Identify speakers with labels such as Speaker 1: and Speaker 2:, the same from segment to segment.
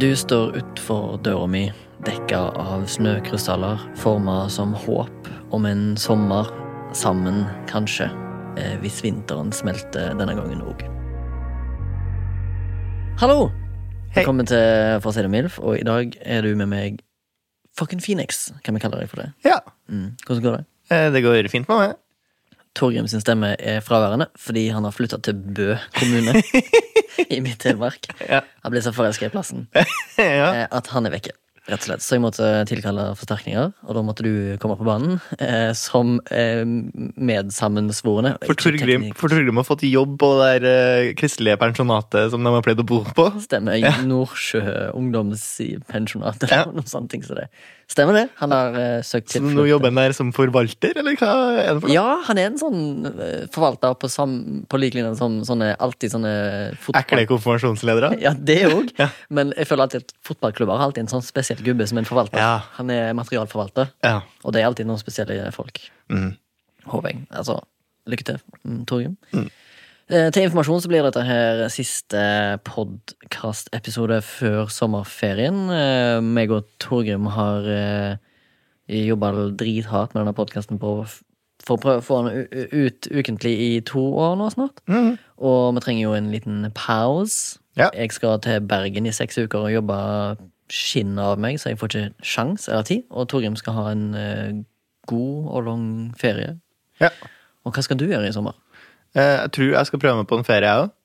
Speaker 1: Du står utfor døra mi, dekka av snøkrystaller, forma som håp om en sommer, sammen kanskje, eh, hvis vinteren smelter denne gangen òg. Hallo!
Speaker 2: Hei.
Speaker 1: Velkommen til For å si det mildt, og i dag er du med meg Fucking Phoenix, kan vi kalle deg for det.
Speaker 2: Ja,
Speaker 1: Mm. Hvordan går det?
Speaker 2: eh, det går fint med meg.
Speaker 1: Torgrim sin stemme er fraværende fordi han har flytta til Bø kommune i Midt-Telemark.
Speaker 2: Ja.
Speaker 1: Han ble så forelska i plassen
Speaker 2: ja.
Speaker 1: eh, at han er vekke. Rett og slett. Så jeg måtte eh, tilkalle forsterkninger, og da måtte du komme på banen eh, som eh, medsammensvorne.
Speaker 2: For Torgrim, for Torgrim har fått jobb på det der eh, kristelige pensjonatet som de har pleid å bo på.
Speaker 1: Stemmer. Nordsjø ungdomspensjonat eller
Speaker 2: Ja.
Speaker 1: noen sånne ting. Så det. Stemmer det. Han har eh, søkt
Speaker 2: Så nå
Speaker 1: tilflukt.
Speaker 2: jobber han der som forvalter, eller hva er det for noe?
Speaker 1: Ja, han er en sånn eh, forvalter på, sam, på lik linje som sånne, alltid sånne fotball...
Speaker 2: Ekle konfirmasjonsledere.
Speaker 1: Ja, det òg.
Speaker 2: Ja.
Speaker 1: Men jeg føler alltid at fotballklubber har alltid en sånn spesiell gubbe som en forvalter.
Speaker 2: Ja.
Speaker 1: Han er materialforvalter,
Speaker 2: Ja.
Speaker 1: og det er alltid noen spesielle folk.
Speaker 2: Mm.
Speaker 1: Håveng. Altså, lykke til, mm, Torgrim. Eh, Til informasjon så blir dette her siste podkastepisode før sommerferien. Eh, Meg og Torgrim har eh, jobba drithardt med denne podkasten på for å prøve å få den u- u- ut ukentlig i to år nå snart.
Speaker 2: Mm.
Speaker 1: Og vi trenger jo en liten pause.
Speaker 2: Ja.
Speaker 1: Jeg skal til Bergen i seks uker og jobbe skinnet av meg, så jeg får ikke sjans eller tid. Og Torgrim skal ha en eh, god og lang ferie.
Speaker 2: Ja.
Speaker 1: Og hva skal du gjøre i sommer?
Speaker 2: Eh, Jeg tror jeg skal prøve meg på en ferie, jeg òg.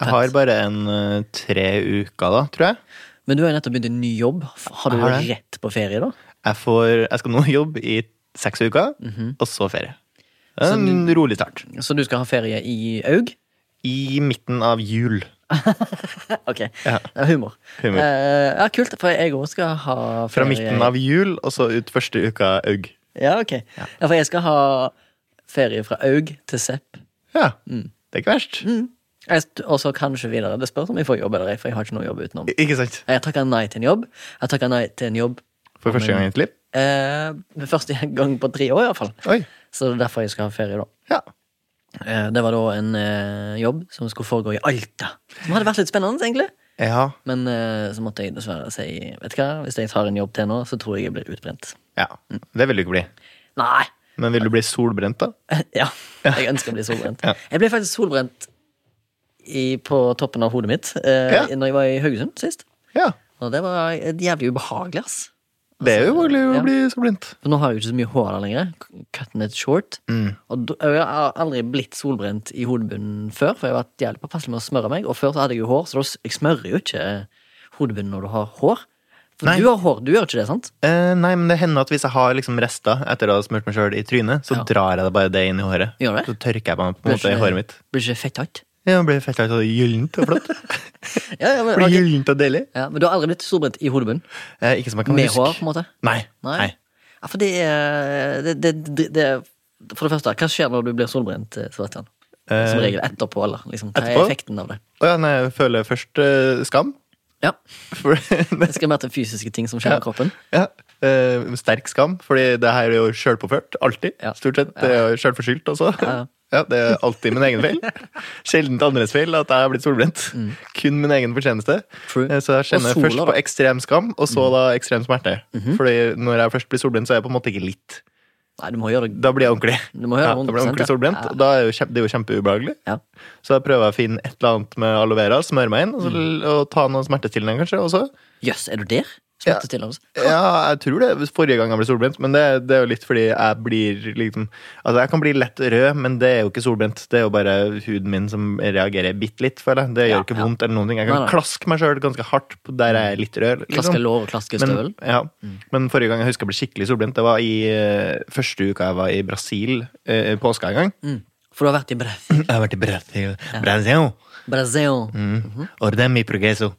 Speaker 2: Jeg har bare en eh, tre uker, da, tror jeg.
Speaker 1: Men du har jo nettopp begynt en ny jobb. Har du
Speaker 2: Har det.
Speaker 1: rett på ferie, da?
Speaker 2: Jeg, får, jeg skal nå jobbe i seks uker, og så ferie. Det er
Speaker 1: Så
Speaker 2: En rolig start.
Speaker 1: Så du skal ha ferie i Aug?
Speaker 2: I midten av jul.
Speaker 1: Ok.
Speaker 2: Ja.
Speaker 1: Det er Humor.
Speaker 2: Humor.
Speaker 1: Eh, ja, kult, for jeg òg skal ha ferie
Speaker 2: Fra midten av jul og så ut første uka aug.
Speaker 1: Ja, ok. Ja. for jeg skal ha ferie fra Aug til Sepp.
Speaker 2: Ja, det er ikke verst.
Speaker 1: Jeg st- Og så kanskje videre. Det spørs om jeg får jobb eller ei, for jeg har ikke noe jobb utenom.
Speaker 2: I- Ikke sant?
Speaker 1: Jeg takka nei til en jobb. Jeg takka nei til en jobb
Speaker 2: For første gang i mitt liv.
Speaker 1: eh, første gang på tre år, iallfall.
Speaker 2: Oi.
Speaker 1: Så det er derfor jeg skal ha ferie, da.
Speaker 2: Ja.
Speaker 1: Eh, det var da en eh, jobb som skulle foregå i Alta. Som hadde vært litt spennende, egentlig.
Speaker 2: Ja.
Speaker 1: Men eh, så måtte jeg dessverre si Vet du hva, hvis jeg tar en jobb til nå, så tror jeg jeg blir utbrent.
Speaker 2: ja. Det vil du ikke bli.
Speaker 1: Nei!
Speaker 2: Men vil du bli solbrent, da?
Speaker 1: Ja, jeg ønsker å bli solbrent. Jeg ble faktisk solbrent i, på toppen av hodet mitt eh,
Speaker 2: Ja.
Speaker 1: Når jeg var i Haugesund sist.
Speaker 2: Ja.
Speaker 1: Og det var et jævlig ubehagelig, ass.
Speaker 2: Det er jo vanlig å
Speaker 1: Ja.
Speaker 2: bli solbrent.
Speaker 1: For nå har jeg jo ikke så mye hår der lenger. Cutting it short.
Speaker 2: Mm.
Speaker 1: Og da- jeg har aldri blitt solbrent i hodebunnen før, for jeg har vært jævlig påpasselig med å smøre meg. Og før så hadde jeg jo hår, så da s- jeg smører jo ikke eh, hodebunnen når du har hår. For
Speaker 2: Nei.
Speaker 1: du har hår, du gjør ikke det, sant?
Speaker 2: Eh, nei, men det hender at hvis jeg har liksom rester etter å ha smurt meg sjøl i trynet, så
Speaker 1: Ja.
Speaker 2: drar jeg det bare det inn i håret.
Speaker 1: Gjør det?
Speaker 2: Så tørker jeg meg på en måte i håret mitt.
Speaker 1: Blir ikke fetthatt?
Speaker 2: Ja, det blir fett og gyllent og flott.
Speaker 1: Ja, ja, men,
Speaker 2: Blir
Speaker 1: ok.
Speaker 2: gyllent og deilig.
Speaker 1: ja, men du har aldri blitt solbrent i hodebunnen?
Speaker 2: Eh, ikke som jeg kan
Speaker 1: Med
Speaker 2: huske.
Speaker 1: hår, på en måte?
Speaker 2: Nei.
Speaker 1: Nei.
Speaker 2: nei.
Speaker 1: Ja, for det er det, det, det, det, For det første, hva skjer når du blir solbrent, eh, Sebastian? Som
Speaker 2: Eh,
Speaker 1: regel etterpå, eller? Liksom, hva er
Speaker 2: etterpå?
Speaker 1: effekten av det?
Speaker 2: Å ja, nei, jeg føler først eh, skam.
Speaker 1: Ja,
Speaker 2: For
Speaker 1: Det skal mer til fysiske ting som skjer med kroppen.
Speaker 2: Ja, eh, Sterk skam, fordi det her er jo sjølpåført. Alltid.
Speaker 1: Ja.
Speaker 2: Stort sett. Det er jo Sjølforskyldt også. Ja,
Speaker 1: ja.
Speaker 2: Det er alltid min egen feil. Sjelden andres feil at jeg har blitt solbrent. Kun min egen fortjeneste.
Speaker 1: Mm. True.
Speaker 2: Eh, Så jeg kjenner
Speaker 1: Og sola,
Speaker 2: først
Speaker 1: da. Mm. Mhm.
Speaker 2: på ekstrem skam, og så da ekstrem smerte. Fordi når jeg først blir solbrent, så er jeg på en måte ikke litt.
Speaker 1: Nei, du må gjøre det
Speaker 2: Da blir jeg ordentlig.
Speaker 1: Du må gjøre
Speaker 2: ja, da blir
Speaker 1: 100%,
Speaker 2: jeg ordentlig solbrent,
Speaker 1: ja.
Speaker 2: og da er jo kjempe, det er jo kjempeubehagelig.
Speaker 1: Ja.
Speaker 2: Så da prøver jeg å finne et eller annet med aloe vera, smøre meg
Speaker 1: Mm.
Speaker 2: inn, og, så, og ta noen smertestillende kanskje også.
Speaker 1: Jøss, er du der? altså. Smertestillende?
Speaker 2: Ja, jeg tror det. Forrige gang jeg ble solbrent. Men det, det er jo litt fordi jeg blir liksom Altså, jeg kan bli lett rød, men det er jo ikke solbrent. Det er jo bare huden min som reagerer bitte litt, føler jeg. Det gjør
Speaker 1: Ja,
Speaker 2: ikke
Speaker 1: ja.
Speaker 2: vondt eller noen ting. Jeg
Speaker 1: Nei,
Speaker 2: kan
Speaker 1: nei.
Speaker 2: klaske meg sjøl ganske hardt på der jeg er litt rød. liksom.
Speaker 1: Klaske Mm. lår og klaske støvel?
Speaker 2: Men, ja. men forrige gang jeg husker jeg ble skikkelig solbrent, det var i eh, første uka jeg var i Brasil, eh, påska en gang.
Speaker 1: Mm. For du har vært i Bra-
Speaker 2: Jeg har vært i Brasil. Brasil.
Speaker 1: Brasil. Mhm.
Speaker 2: Ordemi progreso.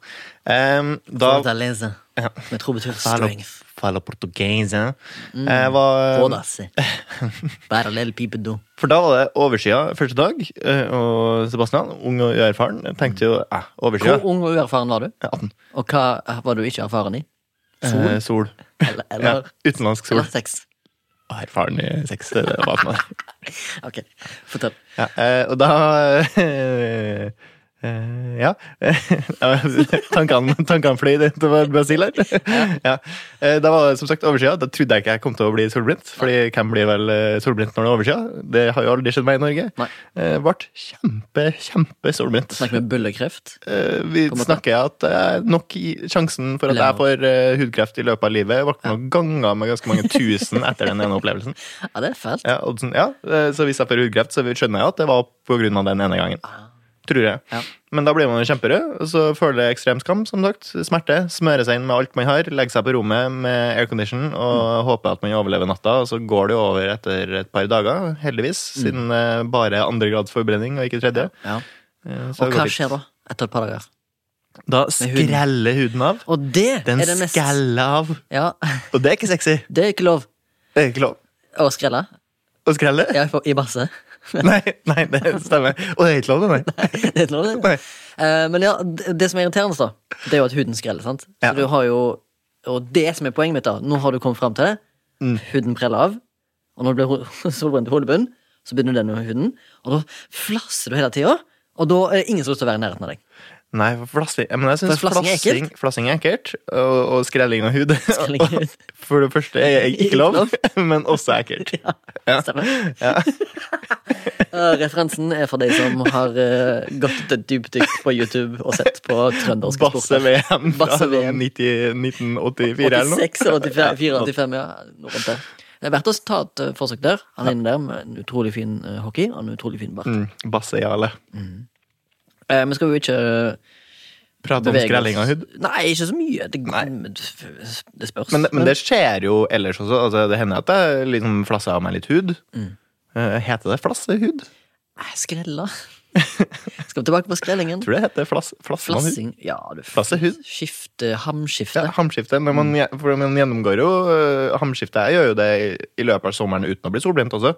Speaker 2: Em, Mm. da
Speaker 1: Fortaleza.
Speaker 2: Ja.
Speaker 1: Vi tror betyr
Speaker 2: Fala,
Speaker 1: strength.
Speaker 2: fala portuguese.
Speaker 1: Mm.
Speaker 2: Eh, var-
Speaker 1: Fodasse. Bare lille pipe do.
Speaker 2: For da var det overskya første dag, eh, og Sebastian, ung og uerfaren, tenkte jo eh, overskya.
Speaker 1: Hvor ung og uerfaren var du?
Speaker 2: 18.
Speaker 1: Og hva var du ikke erfaren i?
Speaker 2: Sol. Eh, sol.
Speaker 1: Eller,
Speaker 2: Ja,
Speaker 1: eller,
Speaker 2: utenlandsk sol.
Speaker 1: eller sex?
Speaker 2: Og erfaren i sex. Det det var for meg.
Speaker 1: Ok, fortell.
Speaker 2: Ja, eh, og da eh, eh, Ja. tankene, tankene fløy utover Brasil her. Ja. Eh, Da var det som sagt oversida. Da trodde jeg ikke jeg kom til å bli solbrent. Fordi hvem blir vel eh, solbrent når det er oversida? Det har jo aldri skjedd meg i Norge.
Speaker 1: Nei.
Speaker 2: Eh, Ble kjempe, kjempe solbrent.
Speaker 1: Snakk med bøllekreft.
Speaker 2: Eh, Vi
Speaker 1: På en måte.
Speaker 2: snakker at eh, nok i, sjansen for at jeg får eh, hudkreft i løpet av livet, ble nok ganga med ganske mange tusen etter den ene opplevelsen.
Speaker 1: Ja, det er fælt.
Speaker 2: Ja, og sånn, ja, eh, så hvis jeg får hudkreft, så skjønner jeg at det var på grunn av den ene gangen. Tror jeg.
Speaker 1: Ah. Ja.
Speaker 2: Men da blir man jo kjemperød, og så føler jeg ekstrem skam, som sagt. Smerte. Smører seg inn med alt man har, legger seg på rommet med aircondition og
Speaker 1: Mm.
Speaker 2: håper at man overlever natta, og så går det jo over etter et par dager, heldigvis,
Speaker 1: Mm.
Speaker 2: siden eh, bare andre grads forbrenning og ikke tredje.
Speaker 1: Ja.
Speaker 2: Eh,
Speaker 1: Og
Speaker 2: så det går
Speaker 1: hva
Speaker 2: fint.
Speaker 1: skjer da? Etter et par dager.
Speaker 2: Da
Speaker 1: Med huden.
Speaker 2: skreller huden av.
Speaker 1: Og det
Speaker 2: Den
Speaker 1: er det mest
Speaker 2: skreller av.
Speaker 1: Ja,
Speaker 2: Og det er ikke sexy.
Speaker 1: Det er ikke lov
Speaker 2: Det er ikke lov
Speaker 1: å skrelle.
Speaker 2: å skrelle.
Speaker 1: Ja, på- I basse.
Speaker 2: Nei, nei, det stemmer. Og det er ikke lov, det, nei.
Speaker 1: Det er ikke lov, det.
Speaker 2: nei.
Speaker 1: Eh, Men ja, det det som er irriterende, da, det er jo at huden skreller. sant?
Speaker 2: Ja.
Speaker 1: Så du har jo, Og det som er poenget mitt, da, nå har du kommet fram til det.
Speaker 2: Mm.
Speaker 1: Huden preller av, og når du blir ho- solbrent i hodebunnen, så begynner den med huden, og da flasser du hele tida. Og da er det ingen som har lyst til å være i nærheten av deg.
Speaker 2: Nei, for flassing, men jeg synes
Speaker 1: For flassing er
Speaker 2: flassing, flassing er ekkelt, og, og skrelling av hud.
Speaker 1: Skrelling av hud.
Speaker 2: For det første er jeg ikke lov,
Speaker 1: Ikke
Speaker 2: men også ekkelt.
Speaker 1: Stemmer. Eh, Referansen er for deg som har eh, gått til dypdykk på YouTube og sett på trønderske
Speaker 2: Basse
Speaker 1: sporter.
Speaker 2: VM fra
Speaker 1: Basse VM.
Speaker 2: 90, 1984 eller noe.
Speaker 1: 86 eller 85, 84, ja. Noe rundt der. Det er verdt å ta et eh, forsøk der. Han er inne der med en utrolig fin eh, hockey og en utrolig fin bart.
Speaker 2: Mm, Basse Jarle.
Speaker 1: Eh, men skal vi jo ikke eh,
Speaker 2: Prate om
Speaker 1: bevege
Speaker 2: skrelling av hud.
Speaker 1: Nei, ikke så mye. Det,
Speaker 2: Nei.
Speaker 1: det spørs.
Speaker 2: Men, men det skjer jo ellers også. Altså, det hender at jeg liksom flasser av meg litt hud.
Speaker 1: Mm.
Speaker 2: Eh, Heter det flassehud?
Speaker 1: Nei, Eh, Skrella. Skal vi tilbake på skrellingen?
Speaker 2: Tror det heter flass, flassmann hud.
Speaker 1: Flassing. Ja, du
Speaker 2: Flassehud.
Speaker 1: Skifte, hamskifte.
Speaker 2: Ja, hamskifte. Men
Speaker 1: Mm.
Speaker 2: man, gje- for man gjennomgår jo øh, hamskifte. Jeg gjør jo det i, i løpet av sommeren uten å bli solbrent også.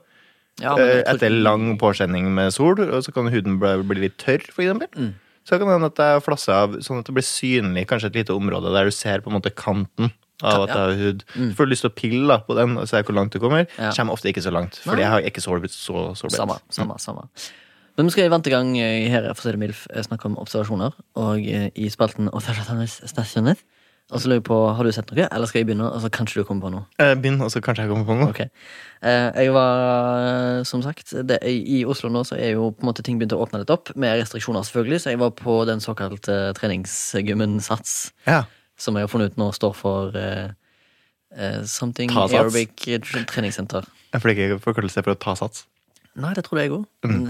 Speaker 1: Ja, men jeg
Speaker 2: Eh,
Speaker 1: tror-
Speaker 2: Etter lang påkjenning med sol, og så kan huden bli, bli litt tørr, for eksempel.
Speaker 1: Mm.
Speaker 2: Så kan det hende at jeg flasser av, sånn at det blir synlig kanskje et lite område der du ser på en måte kanten av at jeg har hud. Får du lyst til å pille da, på den og se hvor langt du kommer.
Speaker 1: Mm. Ja.
Speaker 2: Kommer ofte ikke så langt, fordi jeg har ikke så, så solbrent.
Speaker 1: Samme, samme, samme. Men vi skal i vante gang eh, her for å si det mildt, eh, snakke om observasjoner. Og eh, i spalten Observasjones stasjoner. Og så lurer jeg på, Har du sett noe, eller skal jeg begynne? Og så kanskje du kommer på noe.
Speaker 2: Eh, Begynn, og så kanskje jeg kommer på noe.
Speaker 1: Ok. Eh, Jeg var, eh, som sagt det, I Oslo nå så er jo på en måte ting begynt å åpne litt opp, med restriksjoner selvfølgelig. Så jeg var på den såkalte treningsgymmen Sats,
Speaker 2: Ja.
Speaker 1: som jeg har funnet ut nå står for eh, eh, Something
Speaker 2: Ta Sats.
Speaker 1: Aerobic Treningssenter.
Speaker 2: Jeg får ikke forkortelse for å ta sats.
Speaker 1: Nei, det tror jeg òg.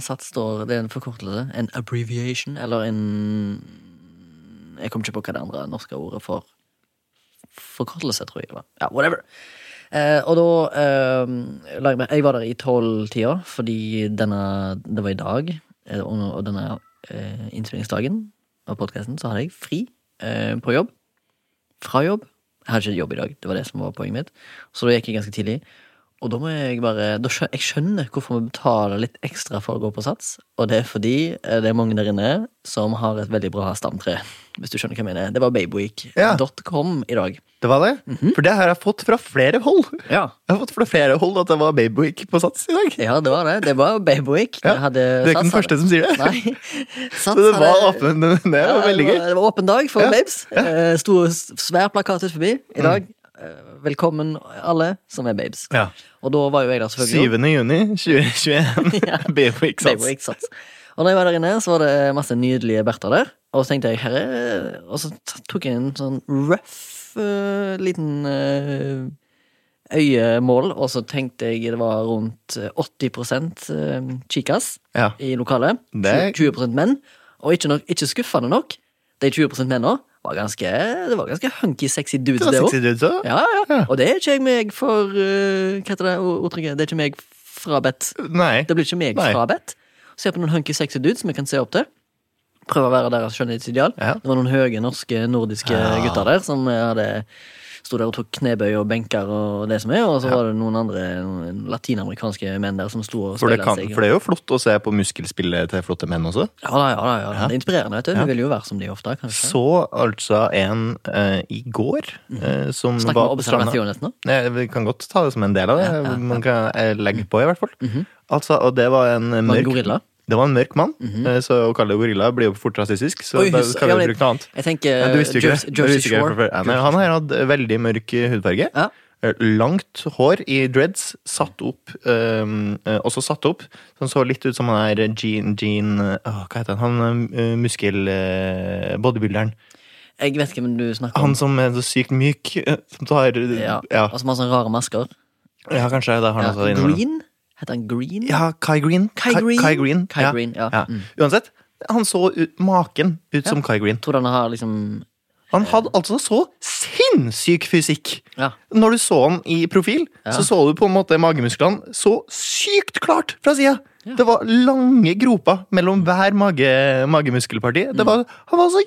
Speaker 1: Sats står Det er en forkortelse. En abbreviation, eller en Jeg kommer ikke på hva det andre norske ordet for forkortelse, tror jeg det var. Ja, whatever. Eh, og da eh, la jeg meg Jeg var der i tolvtida, fordi denne Det var i dag, eh, og, og denne eh, innspillingsdagen av podkasten, så hadde jeg fri eh, på jobb. Fra jobb. Jeg hadde ikke jobb i dag, det var det som var poenget mitt. Så da gikk jeg ganske tidlig. Og da må jeg bare da skjø- Jeg skjønner hvorfor vi betaler litt ekstra for å gå på sats. Og det er fordi eh, det er mange der inne som har et veldig bra stamtre. Hvis du skjønner hva jeg mener. Det var
Speaker 2: Ja.
Speaker 1: babyweek.com i dag.
Speaker 2: Det var det?
Speaker 1: Mhm.
Speaker 2: For det har jeg fått fra flere hold.
Speaker 1: Ja.
Speaker 2: Jeg har fått fra flere hold at det var babyweek på sats i dag.
Speaker 1: Ja, det var det. Det var Babyweek.
Speaker 2: Ja, Du er ikke den første som sier det.
Speaker 1: Nei.
Speaker 2: Så
Speaker 1: Sats
Speaker 2: det var
Speaker 1: hadde-
Speaker 2: åpen, det
Speaker 1: Ja,
Speaker 2: var veldig gøy.
Speaker 1: var- Det var åpen dag for
Speaker 2: Ja, Mm.
Speaker 1: babes. Eh, Sto s- svær plakat ut forbi i dag. Eh, Velkommen alle som er babes.
Speaker 2: Ja.
Speaker 1: Og da var jo jeg der selvfølgelig.
Speaker 2: 7. juni 2021.
Speaker 1: Ja.
Speaker 2: Babyweek sats.
Speaker 1: Babyweek Sats. Og når jeg var der inne, så var det masse nydelige berter der. Og så tenkte jeg herre Og så t- tok jeg en sånn rough eh, liten eh, øyemål, og så tenkte jeg det var rundt eh, 80 eh, chicas.
Speaker 2: Ja.
Speaker 1: i lokalet.
Speaker 2: Det-
Speaker 1: 20 20% menn. Og ikke, nok, ikke skuffende nok, de 20 mennene var ganske, det var ganske hunky, sexy dudes,
Speaker 2: Det var
Speaker 1: det
Speaker 2: sexy
Speaker 1: òg.
Speaker 2: dudes også.
Speaker 1: Ja, ja.
Speaker 2: Ja.
Speaker 1: Og det er ikke jeg meg for eh, Hva heter det o- ordtrykket? Det er ikke meg frabedt.
Speaker 2: Nei.
Speaker 1: Det blir ikke meg
Speaker 2: Nei.
Speaker 1: frabedt. Se på noen hunky, sexy dudes som jeg kan se opp til. prøve å være deres skjønnhetsideal.
Speaker 2: Ja.
Speaker 1: Det var noen høye norske, nordiske
Speaker 2: Ja.
Speaker 1: gutter der som eh, hadde Sto der og tok knebøy og benker og det som er, og så var det noen andre noen latinamerikanske menn der som sto og
Speaker 2: For det,
Speaker 1: speila
Speaker 2: kan,
Speaker 1: seg.
Speaker 2: for det er jo flott å se på muskelspillet til flotte menn også.
Speaker 1: Ja da, ja da, ja da. Det er inspirerende, vet du.
Speaker 2: Ja.
Speaker 1: Du vil jo være som de ofte, kanskje.
Speaker 2: Så altså en eh, i går eh, som
Speaker 1: Mhm. Snakk
Speaker 2: var
Speaker 1: med
Speaker 2: på stranda.
Speaker 1: observasjonen nå.
Speaker 2: Nei, Vi kan godt ta det som en del av det. Man kan eh, legge på, i hvert fall. Altså, Og det var en
Speaker 1: Mhm. Var det en
Speaker 2: mørk
Speaker 1: gorilla? Mhm.
Speaker 2: Det var en mørk mann, eh, så å kalle det gorilla blir jo fort rasistisk. Så
Speaker 1: Oi,
Speaker 2: da
Speaker 1: hus-
Speaker 2: skal
Speaker 1: ja,
Speaker 2: vi
Speaker 1: men
Speaker 2: bruke noe annet.
Speaker 1: Jeg tenker
Speaker 2: Ja, du visste jo ikke
Speaker 1: Jersey,
Speaker 2: det. Du
Speaker 1: Jersey
Speaker 2: visste ikke det
Speaker 1: Shore.
Speaker 2: fra før. Ja, nei, han har hatt veldig mørk eh, hudfarge.
Speaker 1: Ja.
Speaker 2: Eh, Langt hår i dreads, satt opp ehm, eh, Også satt opp. Så han så litt ut som han er Gene, Gene åh, Hva heter han? Han eh, muskel... eh, bodybuilderen.
Speaker 1: Jeg vet ikke hvem du snakker om.
Speaker 2: Han som er så sykt myk, eh, som tar
Speaker 1: Ja.
Speaker 2: Ja, ja.
Speaker 1: Og som har sånne rare masker.
Speaker 2: kanskje det har han
Speaker 1: Ja.
Speaker 2: også innimellom.
Speaker 1: Green? Heter han Green?
Speaker 2: Ja, Kai Green.
Speaker 1: Kai Green.
Speaker 2: Kai Green.
Speaker 1: Kai
Speaker 2: ja.
Speaker 1: Green, ja. Mm.
Speaker 2: Uansett, han så ut, maken ut som Kai Green.
Speaker 1: Tror du han har liksom
Speaker 2: Han hadde altså så sinnssyk fysikk!
Speaker 1: Ja.
Speaker 2: Når du så han i profil, så så du på en måte magemusklene så sykt klart fra sida! Det var lange groper mellom hver mage, magemuskelparti.
Speaker 1: Mm.
Speaker 2: Det var, han var så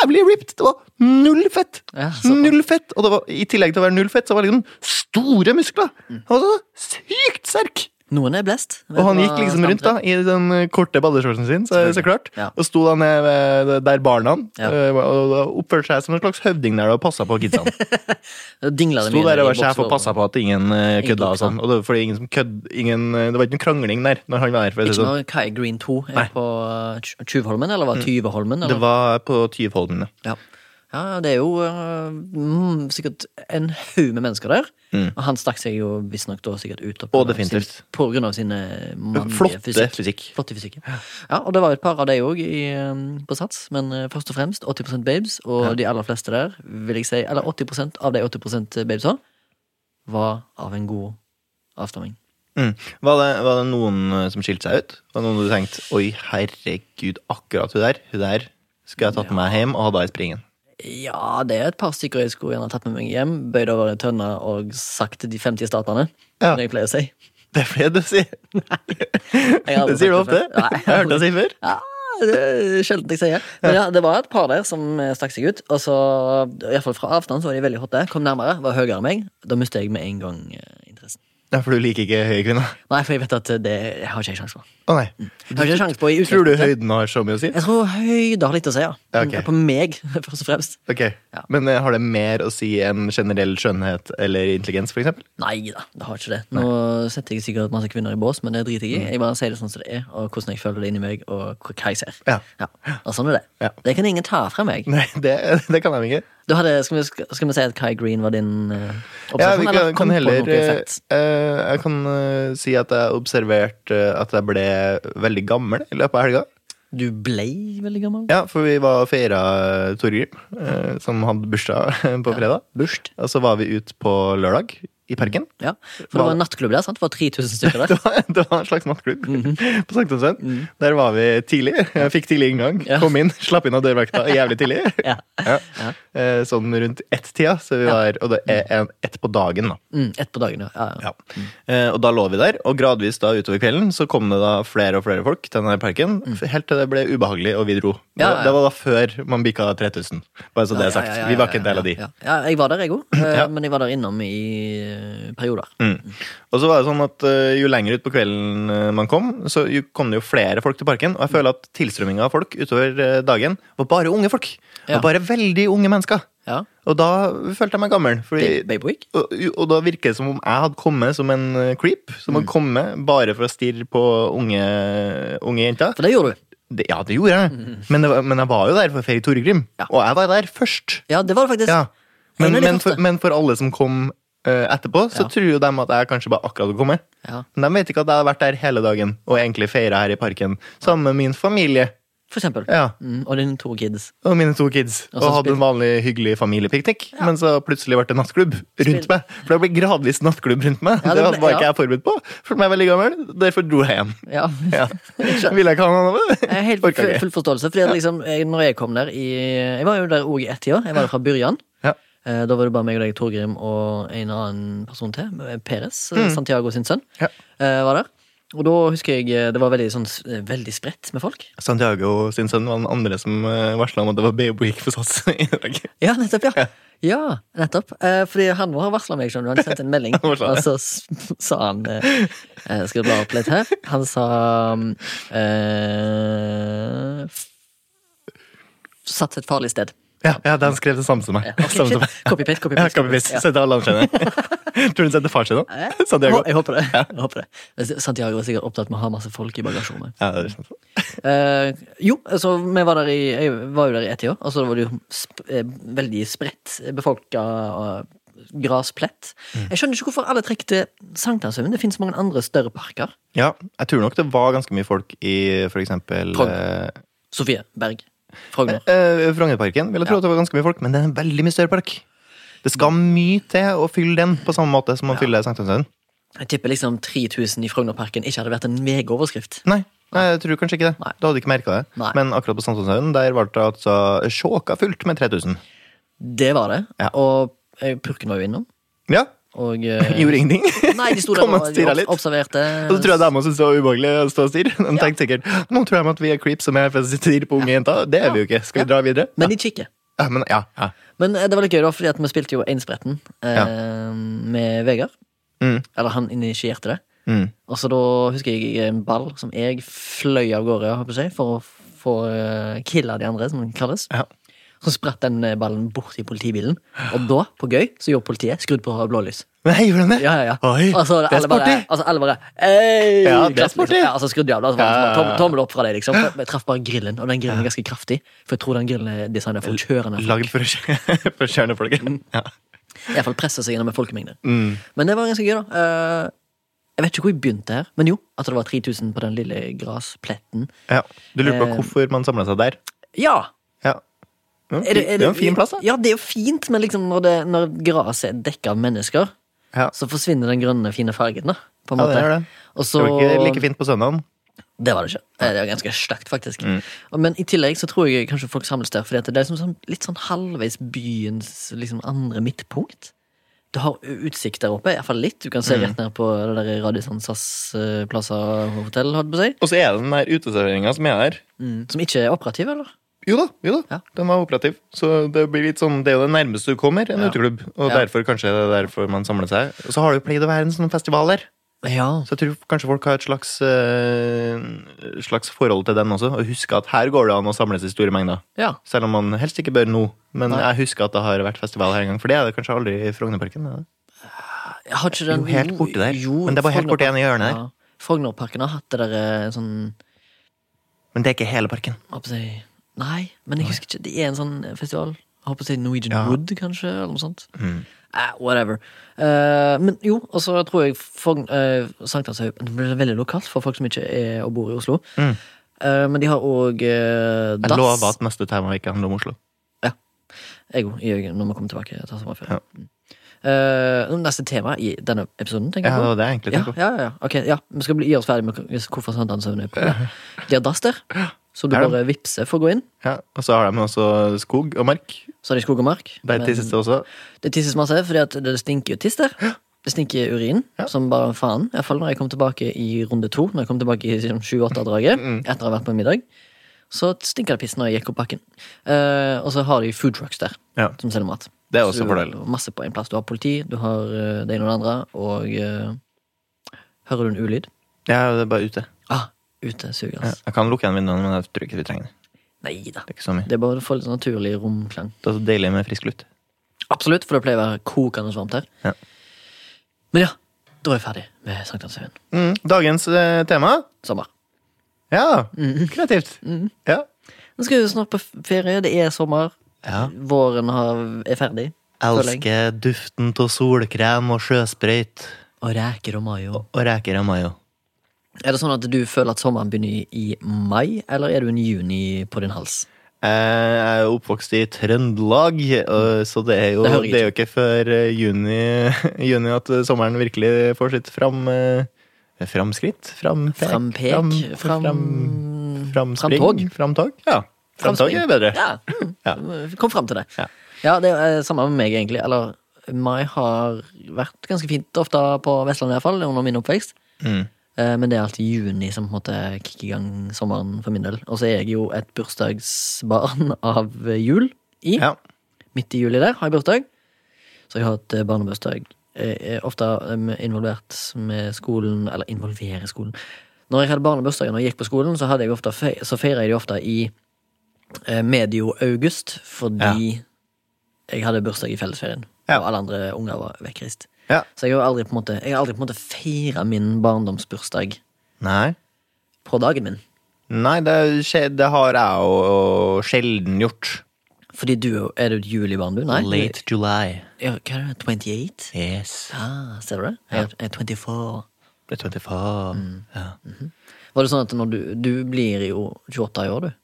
Speaker 2: jævlig ripped! Det var null fett!
Speaker 1: Ja, såpass.
Speaker 2: null fett! Og det var, i tillegg til å være null fett, så var det liksom store muskler!
Speaker 1: Mm.
Speaker 2: Han var så sykt sterk!
Speaker 1: Noen er blest. Vet
Speaker 2: Og han
Speaker 1: du
Speaker 2: gikk
Speaker 1: hva
Speaker 2: liksom
Speaker 1: Stamtre-
Speaker 2: rundt da, i den eh, korte badeshortsen sin, så, så klart.
Speaker 1: Ja.
Speaker 2: Og sto da ned ved, der barna
Speaker 1: Ja.
Speaker 2: eh, og og oppførte seg som en slags høvding der og passa på kidsa.
Speaker 1: Dingla det
Speaker 2: Sto
Speaker 1: mye
Speaker 2: der og
Speaker 1: i
Speaker 2: var sjef og
Speaker 1: bokser
Speaker 2: passa på at ingen eh,
Speaker 1: Ingen
Speaker 2: kødda og
Speaker 1: buksa.
Speaker 2: sånn. Og det var fordi ingen som kødd, ingen, eh, det var ikke noe krangling der når han var der. For å si det
Speaker 1: Ikke
Speaker 2: sånn.
Speaker 1: når Kai Green 2 er på uh, Tj- Tjuvholmen, eller var det Tyveholmen?
Speaker 2: Mm. Det
Speaker 1: Eller?
Speaker 2: var på Tyvholmen, ja.
Speaker 1: Ja. ja, det er jo uh, mm, sikkert en haug med mennesker der. Og han stakk seg jo visstnok da sikkert ut.
Speaker 2: Og Mm. definitivt.
Speaker 1: Sin, på grunn av sine mannlige
Speaker 2: Flotte
Speaker 1: fysikk.
Speaker 2: fysikk.
Speaker 1: Flotte fysikk. ja. Ja, og det var jo et par av deg òg på Sats, men eh, først og fremst 80 babes, og de aller fleste der, vil jeg si, eller 80 av de 80 babesa, var av en god avstamming.
Speaker 2: Mm. Var, det, var det noen eh, som skilte seg ut? Var det noen du tenkte 'oi, herregud, akkurat hun der', hun der skulle jeg tatt med meg hjem og hadde i springen'?
Speaker 1: Ja, det er et par stykker jeg skulle gjerne tatt med meg hjem, bøyd over ei tønne og sagt de 50 statene,
Speaker 2: Ja.
Speaker 1: som jeg pleier å si.
Speaker 2: Det er fordi du sier
Speaker 1: Jeg har aldri
Speaker 2: Det sier du
Speaker 1: sagt det
Speaker 2: ofte.
Speaker 1: før. Nei,
Speaker 2: Jeg hørte deg si før.
Speaker 1: Ja, det er sjelden jeg sier. Men ja, det var et par der som eh, stakk seg ut. Og så, i hvert fall fra avstand, så var de veldig hotte. Kom nærmere, var høyere enn meg. Da mistet jeg med en gang eh, interessen.
Speaker 2: Ja, for du liker ikke høye kvinner?
Speaker 1: Nei, for jeg vet at det jeg har ikke jeg sjanse på.
Speaker 2: Å nei.
Speaker 1: Jeg Mm. har ikke sjans på i
Speaker 2: Tror du
Speaker 1: utgangspunktet.
Speaker 2: høyden har så mye å si?
Speaker 1: Jeg tror høyde har litt å si, ja.
Speaker 2: Ja, ok.
Speaker 1: På meg, først og fremst.
Speaker 2: Ok,
Speaker 1: Ja.
Speaker 2: Men eh, har det mer å si enn generell skjønnhet eller intelligens, for eksempel?
Speaker 1: Nei da, det har ikke det. Nå setter jeg sikkert masse kvinner i bås, men det driter
Speaker 2: Mm.
Speaker 1: jeg i. Jeg bare sier det sånn som det er, og hvordan jeg føler det inni meg, og hva jeg ser.
Speaker 2: Ja.
Speaker 1: Ja, og sånn er det.
Speaker 2: Ja.
Speaker 1: Det kan ingen ta fra meg.
Speaker 2: Nei, det, det kan jeg ikke.
Speaker 1: Du hadde, skal, vi, skal- skal vi si at Kai Green var din eh,
Speaker 2: Ja,
Speaker 1: observasjon?
Speaker 2: vi
Speaker 1: eller kom
Speaker 2: kan, kan
Speaker 1: på
Speaker 2: heller
Speaker 1: noe
Speaker 2: eh,
Speaker 1: fett?
Speaker 2: eh, Jeg kan eh, si at jeg observerte eh, at jeg ble veldig gammel i løpet av helga.
Speaker 1: Du ble veldig gammel?
Speaker 2: Ja, for vi var og feira eh, Torgrim, eh, som hadde bursdag på fredag.
Speaker 1: Burst.
Speaker 2: Og så var vi ut på lørdag i parken.
Speaker 1: Ja, For det var en nattklubb der, sant? Det var 3000 stykker der.
Speaker 2: Det var, det var en slags nattklubb
Speaker 1: Mhm.
Speaker 2: på Sankthansvenn. Der var vi tidlig. Jeg fikk tidlig inngang.
Speaker 1: Ja.
Speaker 2: Kom inn, slapp inn av dørvakta jævlig tidlig.
Speaker 1: Ja.
Speaker 2: Ja. Eh, Sånn rundt ett-tida, så vi var, og det er en- ett på dagen. da.
Speaker 1: Mm, ett på dagen, ja. ja. ja.
Speaker 2: Eh, Og da lå vi der, og gradvis da utover kvelden så kom det da flere og flere folk til denne parken. Helt til det ble ubehagelig, og vi dro.
Speaker 1: Mm. Ja, ja, ja.
Speaker 2: Det- Det var da før man bikka 3000. Bare så det er
Speaker 1: Ja,
Speaker 2: sagt.
Speaker 1: ja, ja,
Speaker 2: Vi var ikke en
Speaker 1: ja,
Speaker 2: del av de.
Speaker 1: Ja, ja. ja jeg var der, jeg òg,
Speaker 2: Ja.
Speaker 1: men jeg var der innom i eh, perioder.
Speaker 2: Mm. Og så var det sånn at eh, Jo lenger ut på kvelden eh, man kom, så jo kom det jo flere folk til parken. Og jeg føler at tilstrømminga av folk utover eh, dagen var bare unge folk.
Speaker 1: Ja.
Speaker 2: Og bare veldig unge mennesker.
Speaker 1: Ja.
Speaker 2: Og da følte jeg meg gammel.
Speaker 1: Ba-
Speaker 2: Fordi,
Speaker 1: Babe Week?
Speaker 2: og, og da virker det som om jeg hadde kommet som en eh, creep. Som
Speaker 1: Mm.
Speaker 2: hadde kommet bare for å stirre på unge, unge jenter.
Speaker 1: For det gjorde du.
Speaker 2: Det, ja, det gjorde jeg. Men, det var, men jeg var jo der for å feire Torgrim.
Speaker 1: Mm. Ja.
Speaker 2: Og jeg var der først.
Speaker 1: Ja, det var det faktisk.
Speaker 2: Ja. Men,
Speaker 1: En av de
Speaker 2: men, for,
Speaker 1: første.
Speaker 2: men for alle som kom eh, etterpå, så
Speaker 1: Ja.
Speaker 2: tror jo de at jeg kanskje bare akkurat kom med.
Speaker 1: Ja.
Speaker 2: Men de vet ikke at jeg har vært der hele dagen og egentlig feira her i parken sammen med min familie
Speaker 1: For eksempel.
Speaker 2: Ja.
Speaker 1: Mm, og dine to kids.
Speaker 2: og mine to kids.
Speaker 1: Og
Speaker 2: Og,
Speaker 1: så
Speaker 2: hadde
Speaker 1: spill-
Speaker 2: en vanlig hyggelig familiepiknik, men så plutselig ble det nattklubb rundt meg. For det ble gradvis nattklubb rundt meg.
Speaker 1: Ja, det
Speaker 2: det,
Speaker 1: ble-
Speaker 2: var
Speaker 1: ja.
Speaker 2: ikke jeg forberedt på. For meg er veldig gammel, derfor dro jeg hjem.
Speaker 1: Ja.
Speaker 2: Ja. Ville jeg ikke ha noe
Speaker 1: Jeg
Speaker 2: med det?
Speaker 1: har helt
Speaker 2: Orka
Speaker 1: full,
Speaker 2: ikke.
Speaker 1: full forståelse. Fordi at liksom, jeg, når jeg kom der i Jeg var jo der òg i ett år. Jeg var der fra Byrjan.
Speaker 2: Ja.
Speaker 1: Eh, Da var det bare meg og deg, Torgrim, og en annen person til. Peres. eh, Santiago sin sønn.
Speaker 2: Mm. Ja.
Speaker 1: eh, Var der. Og da husker jeg eh, det var veldig, sånn, s- eh, veldig spredt med folk.
Speaker 2: Santiago sin sønn var den andre som varsla om at det var BO-week for SAS i dag.
Speaker 1: Ja, nettopp, ja. Ja, nettopp. Eh, fordi han har varsla meg, skjønner du. Han sendte en melding,
Speaker 2: Han varslet
Speaker 1: og så s- sa han eh, eh, Skal du bla opp litt her? Han sa mm, eh, f- Satt et farlig sted.
Speaker 2: Ja, ja, han skrev det samme som meg.
Speaker 1: Ja, ok,
Speaker 2: Samme som
Speaker 1: shit.
Speaker 2: meg.
Speaker 1: Copy-paste,
Speaker 2: Ja,
Speaker 1: copy-paste.
Speaker 2: kan vi
Speaker 1: copy-paste.
Speaker 2: visst sette alle andre kjenner. Tror du hun sendte far sin nå?
Speaker 1: Ja. Jeg,
Speaker 2: Santiago.
Speaker 1: hå- jeg håper det. Jeg håper det. Men Santiago er sikkert opptatt med å ha masse folk i bagasjerommet.
Speaker 2: Ja, det er sant.
Speaker 1: Eh, jo, altså, vi var der i, jeg var jo der i ett år, og så var det jo sp eh, veldig spredt eh, befolka eh, grasplett.
Speaker 2: Mm.
Speaker 1: Jeg skjønner ikke hvorfor alle trekker til Sankthanshaugen. Det finnes mange andre større parker.
Speaker 2: ja, jeg tror nok det var ganske mye folk i for eksempel
Speaker 1: Trond.
Speaker 2: eh,
Speaker 1: Sofie Berg. Frogner.
Speaker 2: eh, Frognerparken. Vil jeg tro at det var ganske mye folk, men det er en veldig mye større park. Det skal mye til å fylle den på samme måte som man fyller Sankthanshaugen.
Speaker 1: Jeg tipper liksom 3000 i Frognerparken ikke hadde vært en megaoverskrift.
Speaker 2: Nei, nei, jeg tror kanskje ikke det.
Speaker 1: Nei.
Speaker 2: Du hadde ikke merka det.
Speaker 1: Nei.
Speaker 2: Men akkurat på Sankthanshaugen der var det altså sjåka fullt med 3000.
Speaker 1: Det var det.
Speaker 2: Ja.
Speaker 1: Og eh, purken var jo innom.
Speaker 2: Ja,
Speaker 1: Og eh,
Speaker 2: gjorde ingenting.
Speaker 1: Nei, de sto der
Speaker 2: Kom og
Speaker 1: og
Speaker 2: stirra litt.
Speaker 1: obs- observerte.
Speaker 2: Og så tror jeg dama syntes det var ubehagelig å stå og stirre. Hun tenkte sikkert nå tror jeg at vi er creeps som er for å stirre på unge jenter. Det er vi jo ikke. Skal vi dra videre?
Speaker 1: Men de kikker.
Speaker 2: Ja, men, ja, ja.
Speaker 1: Men eh, det var litt gøy, da, fordi at vi spilte jo Einspretten eh, med Vegard.
Speaker 2: Mm,
Speaker 1: Eller han initierte det.
Speaker 2: mm.
Speaker 1: Og så da husker jeg en ball som jeg fløy av gårde jeg håper å si, for å få eh, killa de andre, som det kalles.
Speaker 2: Ja.
Speaker 1: Så spratt den eh, ballen bort i politibilen, og da, på gøy, så gjorde politiet skrudd på blålys.
Speaker 2: Nei, gjorde han det?
Speaker 1: Ja, ja, ja.
Speaker 2: Oi,
Speaker 1: Og så
Speaker 2: det er
Speaker 1: alle bare,
Speaker 2: sporty.
Speaker 1: altså, alle bare «Ei!»
Speaker 2: Ja,
Speaker 1: Liksom,
Speaker 2: det er sporty.
Speaker 1: Ja, altså, skrudde de av, da, så var det
Speaker 2: Ja, ja, ja.
Speaker 1: tommel- tommel opp fra deg, liksom. Jeg traff bare grillen, og den grillen er ganske kraftig, for jeg tror den grillen er designet for å kjøre ned.
Speaker 2: Lagd for å kjø- for å kjøre ned folk. Ja.
Speaker 1: I hvert fall presse seg gjennom en folkemengde.
Speaker 2: Mm.
Speaker 1: Men det var ganske gøy, da. Eh, jeg vet ikke hvor jeg begynte her, men jo, at det var 3000 på den lille graspletten.
Speaker 2: ja. Du lurer på
Speaker 1: Eh.
Speaker 2: hvorfor man samla seg der?
Speaker 1: Ja!
Speaker 2: Ja. Ja, det er jo en fin plass, da.
Speaker 1: Ja, det er jo fint, men liksom når, det, når gresset er dekka av mennesker,
Speaker 2: Ja.
Speaker 1: så forsvinner den grønne, fine fargen, da. På en
Speaker 2: Ja,
Speaker 1: måte.
Speaker 2: det gjør det.
Speaker 1: Og
Speaker 2: Det
Speaker 1: så,
Speaker 2: var ikke like fint på søndagen.
Speaker 1: det var det ikke. Eh, Det var ganske stygt, faktisk.
Speaker 2: Mm.
Speaker 1: Og- Men i tillegg så tror jeg kanskje folk samles der, fordi at det er liksom sånn, litt sånn halvveis byens liksom, andre midtpunkt. Du har utsikt der oppe, iallfall litt. Du kan se
Speaker 2: Mm.
Speaker 1: rett ned på det der Radisson SAS eh, Plaza hotell, holdt på å si.
Speaker 2: Og så er det den der uteserveringa som er der.
Speaker 1: Som ikke er operativ, eller?
Speaker 2: Jo da, jo da.
Speaker 1: Ja.
Speaker 2: den var operativ. Så det blir litt sånn, det er jo det nærmeste du kommer en
Speaker 1: Ja.
Speaker 2: uteklubb. Og
Speaker 1: Ja.
Speaker 2: derfor kanskje det er derfor man samler seg. Og så har det jo pleid å være en sånn festival der.
Speaker 1: Ja.
Speaker 2: Så jeg tror kanskje folk har et slags, eh, slags forhold til den også, og husker at her går det an å samles i store mengder.
Speaker 1: ja.
Speaker 2: Selv om man helst ikke bør nå. Men
Speaker 1: Nei.
Speaker 2: jeg husker at det har vært festival her en gang, for det er det kanskje aldri i Frognerparken. er det?
Speaker 1: Jeg har ikke den
Speaker 2: Jo, helt borte der. Men det var helt borte igjen i hjørnet der.
Speaker 1: Ja. Frognerparken har hatt det der eh, sånn
Speaker 2: Men det er ikke hele parken.
Speaker 1: hva skal jeg si? Nei, men jeg husker ikke. Det er en sånn festival. Jeg håper å si Norwegian
Speaker 2: Ja. Mm.
Speaker 1: Wood, kanskje, eller noe sånt. Eh, whatever. Eh, men jo, og så tror jeg Fogn, eh, Sankthanshaugen Det blir veldig lokalt for folk som ikke er og bor i Oslo.
Speaker 2: Mm.
Speaker 1: Eh, men de har òg eh,
Speaker 2: Jeg
Speaker 1: dass.
Speaker 2: lover at neste tema ikke handler om Oslo.
Speaker 1: Jeg òg, i øyeblikket, når vi kommer tilbake. Tar sommerferie.
Speaker 2: Ja.
Speaker 1: Mm. Eh, neste tema i denne episoden, tenker
Speaker 2: Ja,
Speaker 1: jeg
Speaker 2: det
Speaker 1: på.
Speaker 2: var det jeg egentlig
Speaker 1: Ja,
Speaker 2: tenkte på.
Speaker 1: ja, ja. Ok, ja. Vi skal bli, gi oss ferdig med hvorfor Sankthanshaugen er på. De har dass der, så du
Speaker 2: Ja.
Speaker 1: bare vippser for å gå inn.
Speaker 2: Ja, og så har de også skog og mark.
Speaker 1: Så har de skog og mark.
Speaker 2: Der
Speaker 1: men
Speaker 2: tisses det også.
Speaker 1: det tisses masse, fordi at det stinker jo tiss der. Det stinker urin
Speaker 2: Ja.
Speaker 1: som bare faen. Iallfall når jeg kom tilbake i runde to, når jeg kom tilbake i sånn 7-8-draget
Speaker 2: Mm,
Speaker 1: etter å ha vært på middag. Så stinker det piss når jeg gikk opp bakken. Eh, og så har de food trucks der,
Speaker 2: Ja.
Speaker 1: som selger mat.
Speaker 2: Det er også
Speaker 1: Så
Speaker 2: en
Speaker 1: du
Speaker 2: fordel.
Speaker 1: har Masse på en plass. Du har politi, du har eh, det ene og det andre, og eh, Hører du en ulyd?
Speaker 2: Ja, det er bare ute.
Speaker 1: Ah, ute suger,
Speaker 2: Ja.
Speaker 1: ass.
Speaker 2: Jeg kan lukke igjen vinduene, men jeg tror ikke vi trenger det.
Speaker 1: Nei da.
Speaker 2: Det er ikke så mye.
Speaker 1: Det er bare å få litt sånn naturlig romklang.
Speaker 2: Det er så deilig med frisk luft.
Speaker 1: Absolutt, for det pleier å være kokende varmt her.
Speaker 2: Ja.
Speaker 1: Men ja, da er jeg ferdig med Sankthanshaugen.
Speaker 2: Mm. Dagens eh, tema?
Speaker 1: Sommer.
Speaker 2: Ja,
Speaker 1: Mm.
Speaker 2: kreativt. Ja.
Speaker 1: Nå skal vi snart på f- ferie, det er sommer.
Speaker 2: Ja.
Speaker 1: Våren har, er ferdig. Føler jeg.
Speaker 2: Elsker duften av solkrem og sjøsprøyt
Speaker 1: Og reker og mai og
Speaker 2: og reker av mayo.
Speaker 1: Er det sånn at du føler at sommeren begynner i i mai, eller er du en juni på din hals?
Speaker 2: Jeg er jo oppvokst i Trøndelag, og- så det er jo,
Speaker 1: Det hører
Speaker 2: det
Speaker 1: jeg
Speaker 2: er jo ikke før eh, juni, juni at eh, sommeren virkelig får sitt fram, eh, framskritt. Fram,
Speaker 1: Frampek? Fram...
Speaker 2: Mm. fram, framspring?
Speaker 1: framtog?
Speaker 2: Framtog, ja. Framtog er bedre.
Speaker 1: Ja. Mm. Kom fram til det.
Speaker 2: Ja.
Speaker 1: Ja. det er eh, samme med meg, egentlig. Eller mai har vært ganske fint ofte på Vestlandet, i hvert fall, under min oppvekst.
Speaker 2: Mm.
Speaker 1: Eh, Men det er alltid juni som på en måte kicker i gang sommeren for min del. Og så er jeg jo et bursdagsbarn av jul i.
Speaker 2: Ja.
Speaker 1: Midt i juli der har jeg bursdag. Så jeg har hatt eh, barnebursdag. Jeg er ofte eh, involvert med skolen, eller involverer skolen. Når jeg hadde barnebursdager når jeg gikk på skolen, så, hadde jeg ofte fe så feira jeg de ofte i eh, medio august, fordi jeg hadde bursdag i fellesferien.
Speaker 2: Ja.
Speaker 1: Og alle andre unger var vekkreist.
Speaker 2: Ja.
Speaker 1: Så jeg har aldri på en måte, jeg har aldri på en måte feira min barndomsbursdag
Speaker 2: Nei.
Speaker 1: på dagen min.
Speaker 2: Nei, det, skje- det har jeg jo sjelden gjort.
Speaker 1: Fordi du er jo- er du et julibarn, du? Nei?
Speaker 2: July.
Speaker 1: Ja, hva er det? 28?
Speaker 2: Yes.
Speaker 1: Ah, ser du det? Jeg er 24.
Speaker 2: Det er 24. Ja.
Speaker 1: Var det sånn at når du, du blir jo 28 i år, du.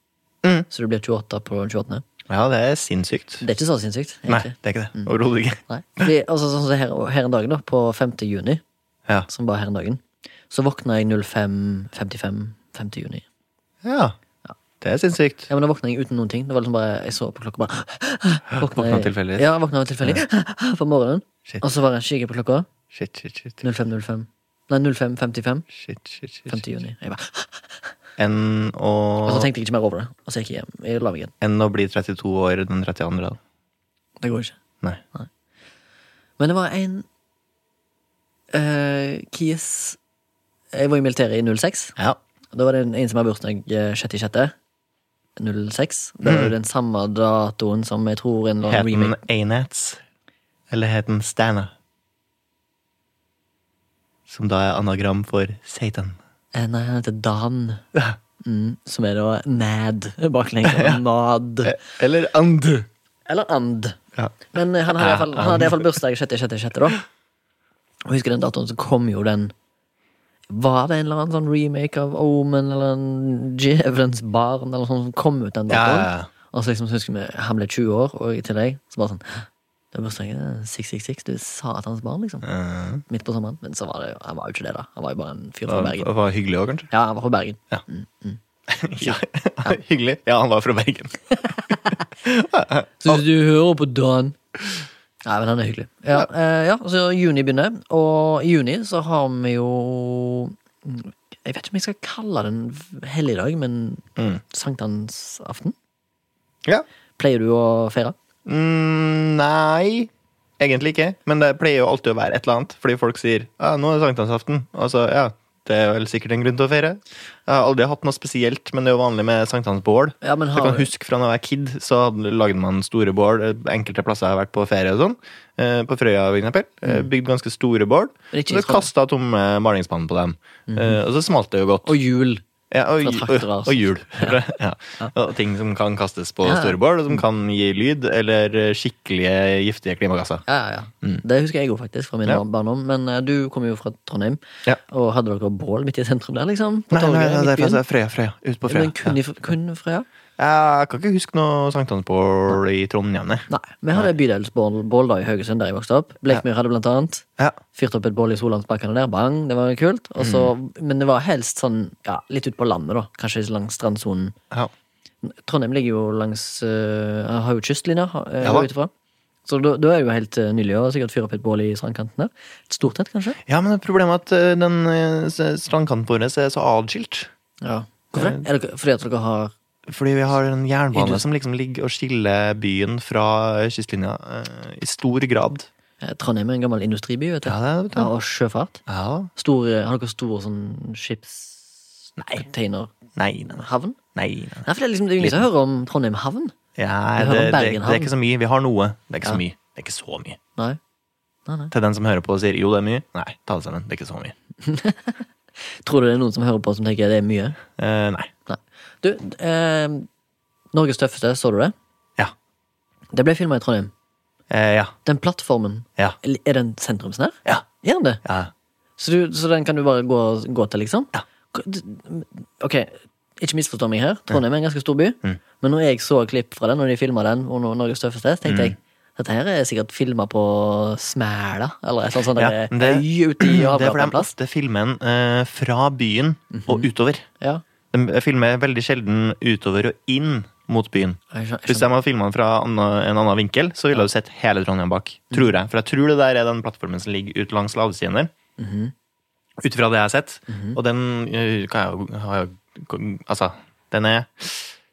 Speaker 2: Mm.
Speaker 1: Så du blir 28 på den 28.
Speaker 2: ja, det er sinnssykt.
Speaker 1: Det er ikke så sinnssykt.
Speaker 2: Nei,
Speaker 1: egentlig.
Speaker 2: det Mm. er ikke det. Overhodet ikke.
Speaker 1: Nei. Fordi, altså, sånn som det her, her en dag, da, på 5. juni,
Speaker 2: Ja.
Speaker 1: som var her en dagen, så våkna jeg 05.55 5. juni.
Speaker 2: ja. Det er sinnssykt.
Speaker 1: Ja, men da våkna jeg uten noen ting. Det var liksom bare, Jeg så på klokka bare
Speaker 2: Våkna tilfeldig.
Speaker 1: Ja, våkna tilfeldig på morgenen.
Speaker 2: Shit.
Speaker 1: Og så bare kikker jeg på klokka.
Speaker 2: Shit, shit, shit.
Speaker 1: 05.05. Nei, 05.55.
Speaker 2: Shit, shit,
Speaker 1: 5.
Speaker 2: shit, shit.
Speaker 1: juni. Jeg bare,
Speaker 2: Enn
Speaker 1: og så
Speaker 2: å,
Speaker 1: tenkte jeg ikke mer over det. Og så gikk jeg hjem. Jeg la meg igjen.
Speaker 2: enn å bli 32 år den 32. da.
Speaker 1: Det går ikke.
Speaker 2: Nei.
Speaker 1: Men det var en eh, Kies Jeg var i militæret i 06.
Speaker 2: Ja.
Speaker 1: Da var det en, en som hadde bursdag eh, 6.6. 06. Det var jo den samme datoen som jeg tror en eller
Speaker 2: Het
Speaker 1: annen
Speaker 2: den
Speaker 1: remake
Speaker 2: Anats? Eller het den Stana? Som da er anagram for Satan.
Speaker 1: Eh, Nei, han heter Dan. Mm, som er da Nad baklengs. og Nad.
Speaker 2: Eller And.
Speaker 1: Eller And.
Speaker 2: Ja.
Speaker 1: Men eh, han hadde i hvert fall- han hadde iallfall bursdag 6.6., da. Og husker den datoen, så kom jo den Var det en eller annen sånn remake av Omen eller en Djevelens barn eller sånn som kom ut den
Speaker 2: Ja,
Speaker 1: datoen?
Speaker 2: ja, ja.
Speaker 1: Og så liksom så husker vi han ble 20 år, og i tillegg så bare sånn «Hæ? Det er bursdagen eh, 666, du er satans barn, liksom.
Speaker 2: Mm.
Speaker 1: Midt på sommeren. Men så var det jo Han var jo ikke det, da. Han var jo bare en fyr fra
Speaker 2: Det
Speaker 1: Bergen.
Speaker 2: var, var hyggelig òg, kanskje?
Speaker 1: Ja, han var fra Bergen.
Speaker 2: Ja. hyggelig. Ja, han var fra Bergen.
Speaker 1: Så hvis du hører på Dan Nei, men han er hyggelig. Ja, eh, ja så juni begynner, og i juni så har vi jo Jeg vet ikke om jeg skal kalle det en helligdag, men
Speaker 2: Mm.
Speaker 1: sankthansaften?
Speaker 2: Ja.
Speaker 1: Pleier du å feire?
Speaker 2: Mm, nei, egentlig ikke. Men det pleier jo alltid å være et eller annet. Fordi folk sier ja, 'nå er det sankthansaften'. Og så, ja, det er vel sikkert en grunn til å feire. Jeg har aldri hatt noe spesielt, men det er jo vanlig med sankthansbål.
Speaker 1: Ja, men
Speaker 2: Jeg
Speaker 1: har,
Speaker 2: kan huske fra da jeg var kid, så hadde- lagde man store bål. eh, Enkelte plasser jeg har vært på ferie og sånn. eh, På Frøya, for eksempel. eh, Bygd ganske store bål.
Speaker 1: Mm. Men ikke
Speaker 2: Og
Speaker 1: i
Speaker 2: så
Speaker 1: Skåne.
Speaker 2: kasta tomme malingsspann på dem. Eh, Og så smalt det jo godt.
Speaker 1: Og jul.
Speaker 2: Ja, og,
Speaker 1: Fra traktorer,
Speaker 2: og,
Speaker 1: altså.
Speaker 2: og hjul. Ja. Og ting som kan kastes på
Speaker 1: Ja.
Speaker 2: større bål, og som kan gi lyd, eller eh, skikkelige giftige klimagasser.
Speaker 1: Ja, ja, ja. Det husker jeg jo faktisk fra min
Speaker 2: Mm. Ja.
Speaker 1: barndom. Men eh, du kom jo fra Trondheim,
Speaker 2: Ja.
Speaker 1: og hadde dere bål midt i sentrum der, liksom? På
Speaker 2: Nei, nei, nei, det er
Speaker 1: Midtbyen?
Speaker 2: fra Frøya. Frøya. Ut på Frøya.
Speaker 1: Men kun,
Speaker 2: Ja.
Speaker 1: i, kun Frøya?
Speaker 2: Jeg kan ikke huske noe sankthansbål i Trondheim, nei.
Speaker 1: Nei. Vi hadde bydelsbål bål da i Haugesund, der jeg vokste opp. Blekmyr hadde blant annet.
Speaker 2: Ja.
Speaker 1: Fyrte opp et bål i Solandsbakkene der. Bang, det var kult. Og så, Men det var helst sånn ja, litt ut på landet, da. Kanskje langs strandsonen.
Speaker 2: Ja.
Speaker 1: Trondheim ligger jo langs øh, Har jo kystlinja øh,
Speaker 2: Ja da.
Speaker 1: utifra. Så da, da er det jo helt øh, nylig å sikkert fyre opp et bål i strandkanten der. Et stort et, kanskje?
Speaker 2: ja, men problemet er at eh, den eh, s- strandkanten vår er så atskilt.
Speaker 1: Ja. Eh. Hvorfor det? Er det fordi at dere har
Speaker 2: Fordi vi har en
Speaker 1: I
Speaker 2: jernbane
Speaker 1: du-
Speaker 2: som liksom ligger og skiller byen fra kystlinja eh, i stor grad.
Speaker 1: eh, Trondheim er en gammel industriby, vet du.
Speaker 2: Ja, det vet du.
Speaker 1: Ja, og sjøfart.
Speaker 2: Ja.
Speaker 1: Stor, øh, har dere stor sånn skips... Nei. Containerhavn?
Speaker 2: Nei, nei, nei. nei.
Speaker 1: Nei, for det er liksom det er ingen som hører om Trondheim havn.
Speaker 2: Ja,
Speaker 1: Vi hører om
Speaker 2: det, det, det
Speaker 1: Bergenhavn.
Speaker 2: er ikke så mye. Vi har noe. Det er ikke
Speaker 1: Ja.
Speaker 2: så mye. Det er ikke så mye.
Speaker 1: Nei.
Speaker 2: Til den som hører på og sier jo, det er mye. Nei, ta det sammen. Det er ikke så mye.
Speaker 1: Tror du det er noen som hører på som tenker det er mye?
Speaker 2: Eh, nei.
Speaker 1: Nei. Du, eh, Norges tøffeste, så du det?
Speaker 2: Ja.
Speaker 1: Det ble filma i Trondheim.
Speaker 2: Eh, ja.
Speaker 1: Den plattformen,
Speaker 2: Ja.
Speaker 1: Eller er den sentrumsnær?
Speaker 2: Ja.
Speaker 1: Er den det?
Speaker 2: Ja.
Speaker 1: Så, du, så den kan du bare gå, gå til, liksom?
Speaker 2: Ja.
Speaker 1: Ok, ikke misforstå meg her. Trondheim er en ganske stor by.
Speaker 2: Mm.
Speaker 1: Men når jeg så klipp fra den, når de filma den, og når Norges tøffeste,
Speaker 2: Mm.
Speaker 1: tenkte jeg dette her er sikkert filma på Smæla, eller et eller annet sånt.
Speaker 2: Ja,
Speaker 1: der
Speaker 2: men det-
Speaker 1: øy ute i
Speaker 2: Det er
Speaker 1: avgata
Speaker 2: fordi
Speaker 1: en
Speaker 2: de
Speaker 1: plass.
Speaker 2: ofte filmer den eh, fra byen og utover.
Speaker 1: Ja.
Speaker 2: De filmer eh, veldig sjelden utover og inn mot byen.
Speaker 1: Jeg skjønner- jeg
Speaker 2: Hvis de hadde filma den fra anna- en annen vinkel, så ville du sett
Speaker 1: Mhm.
Speaker 2: hele Trondheim bak. Tror jeg. For jeg tror det der er den plattformen som ligger ut langs lavsiden der. Ut ifra det jeg har sett. Og den eh, kan jeg jo har jeg jo- Altså, den er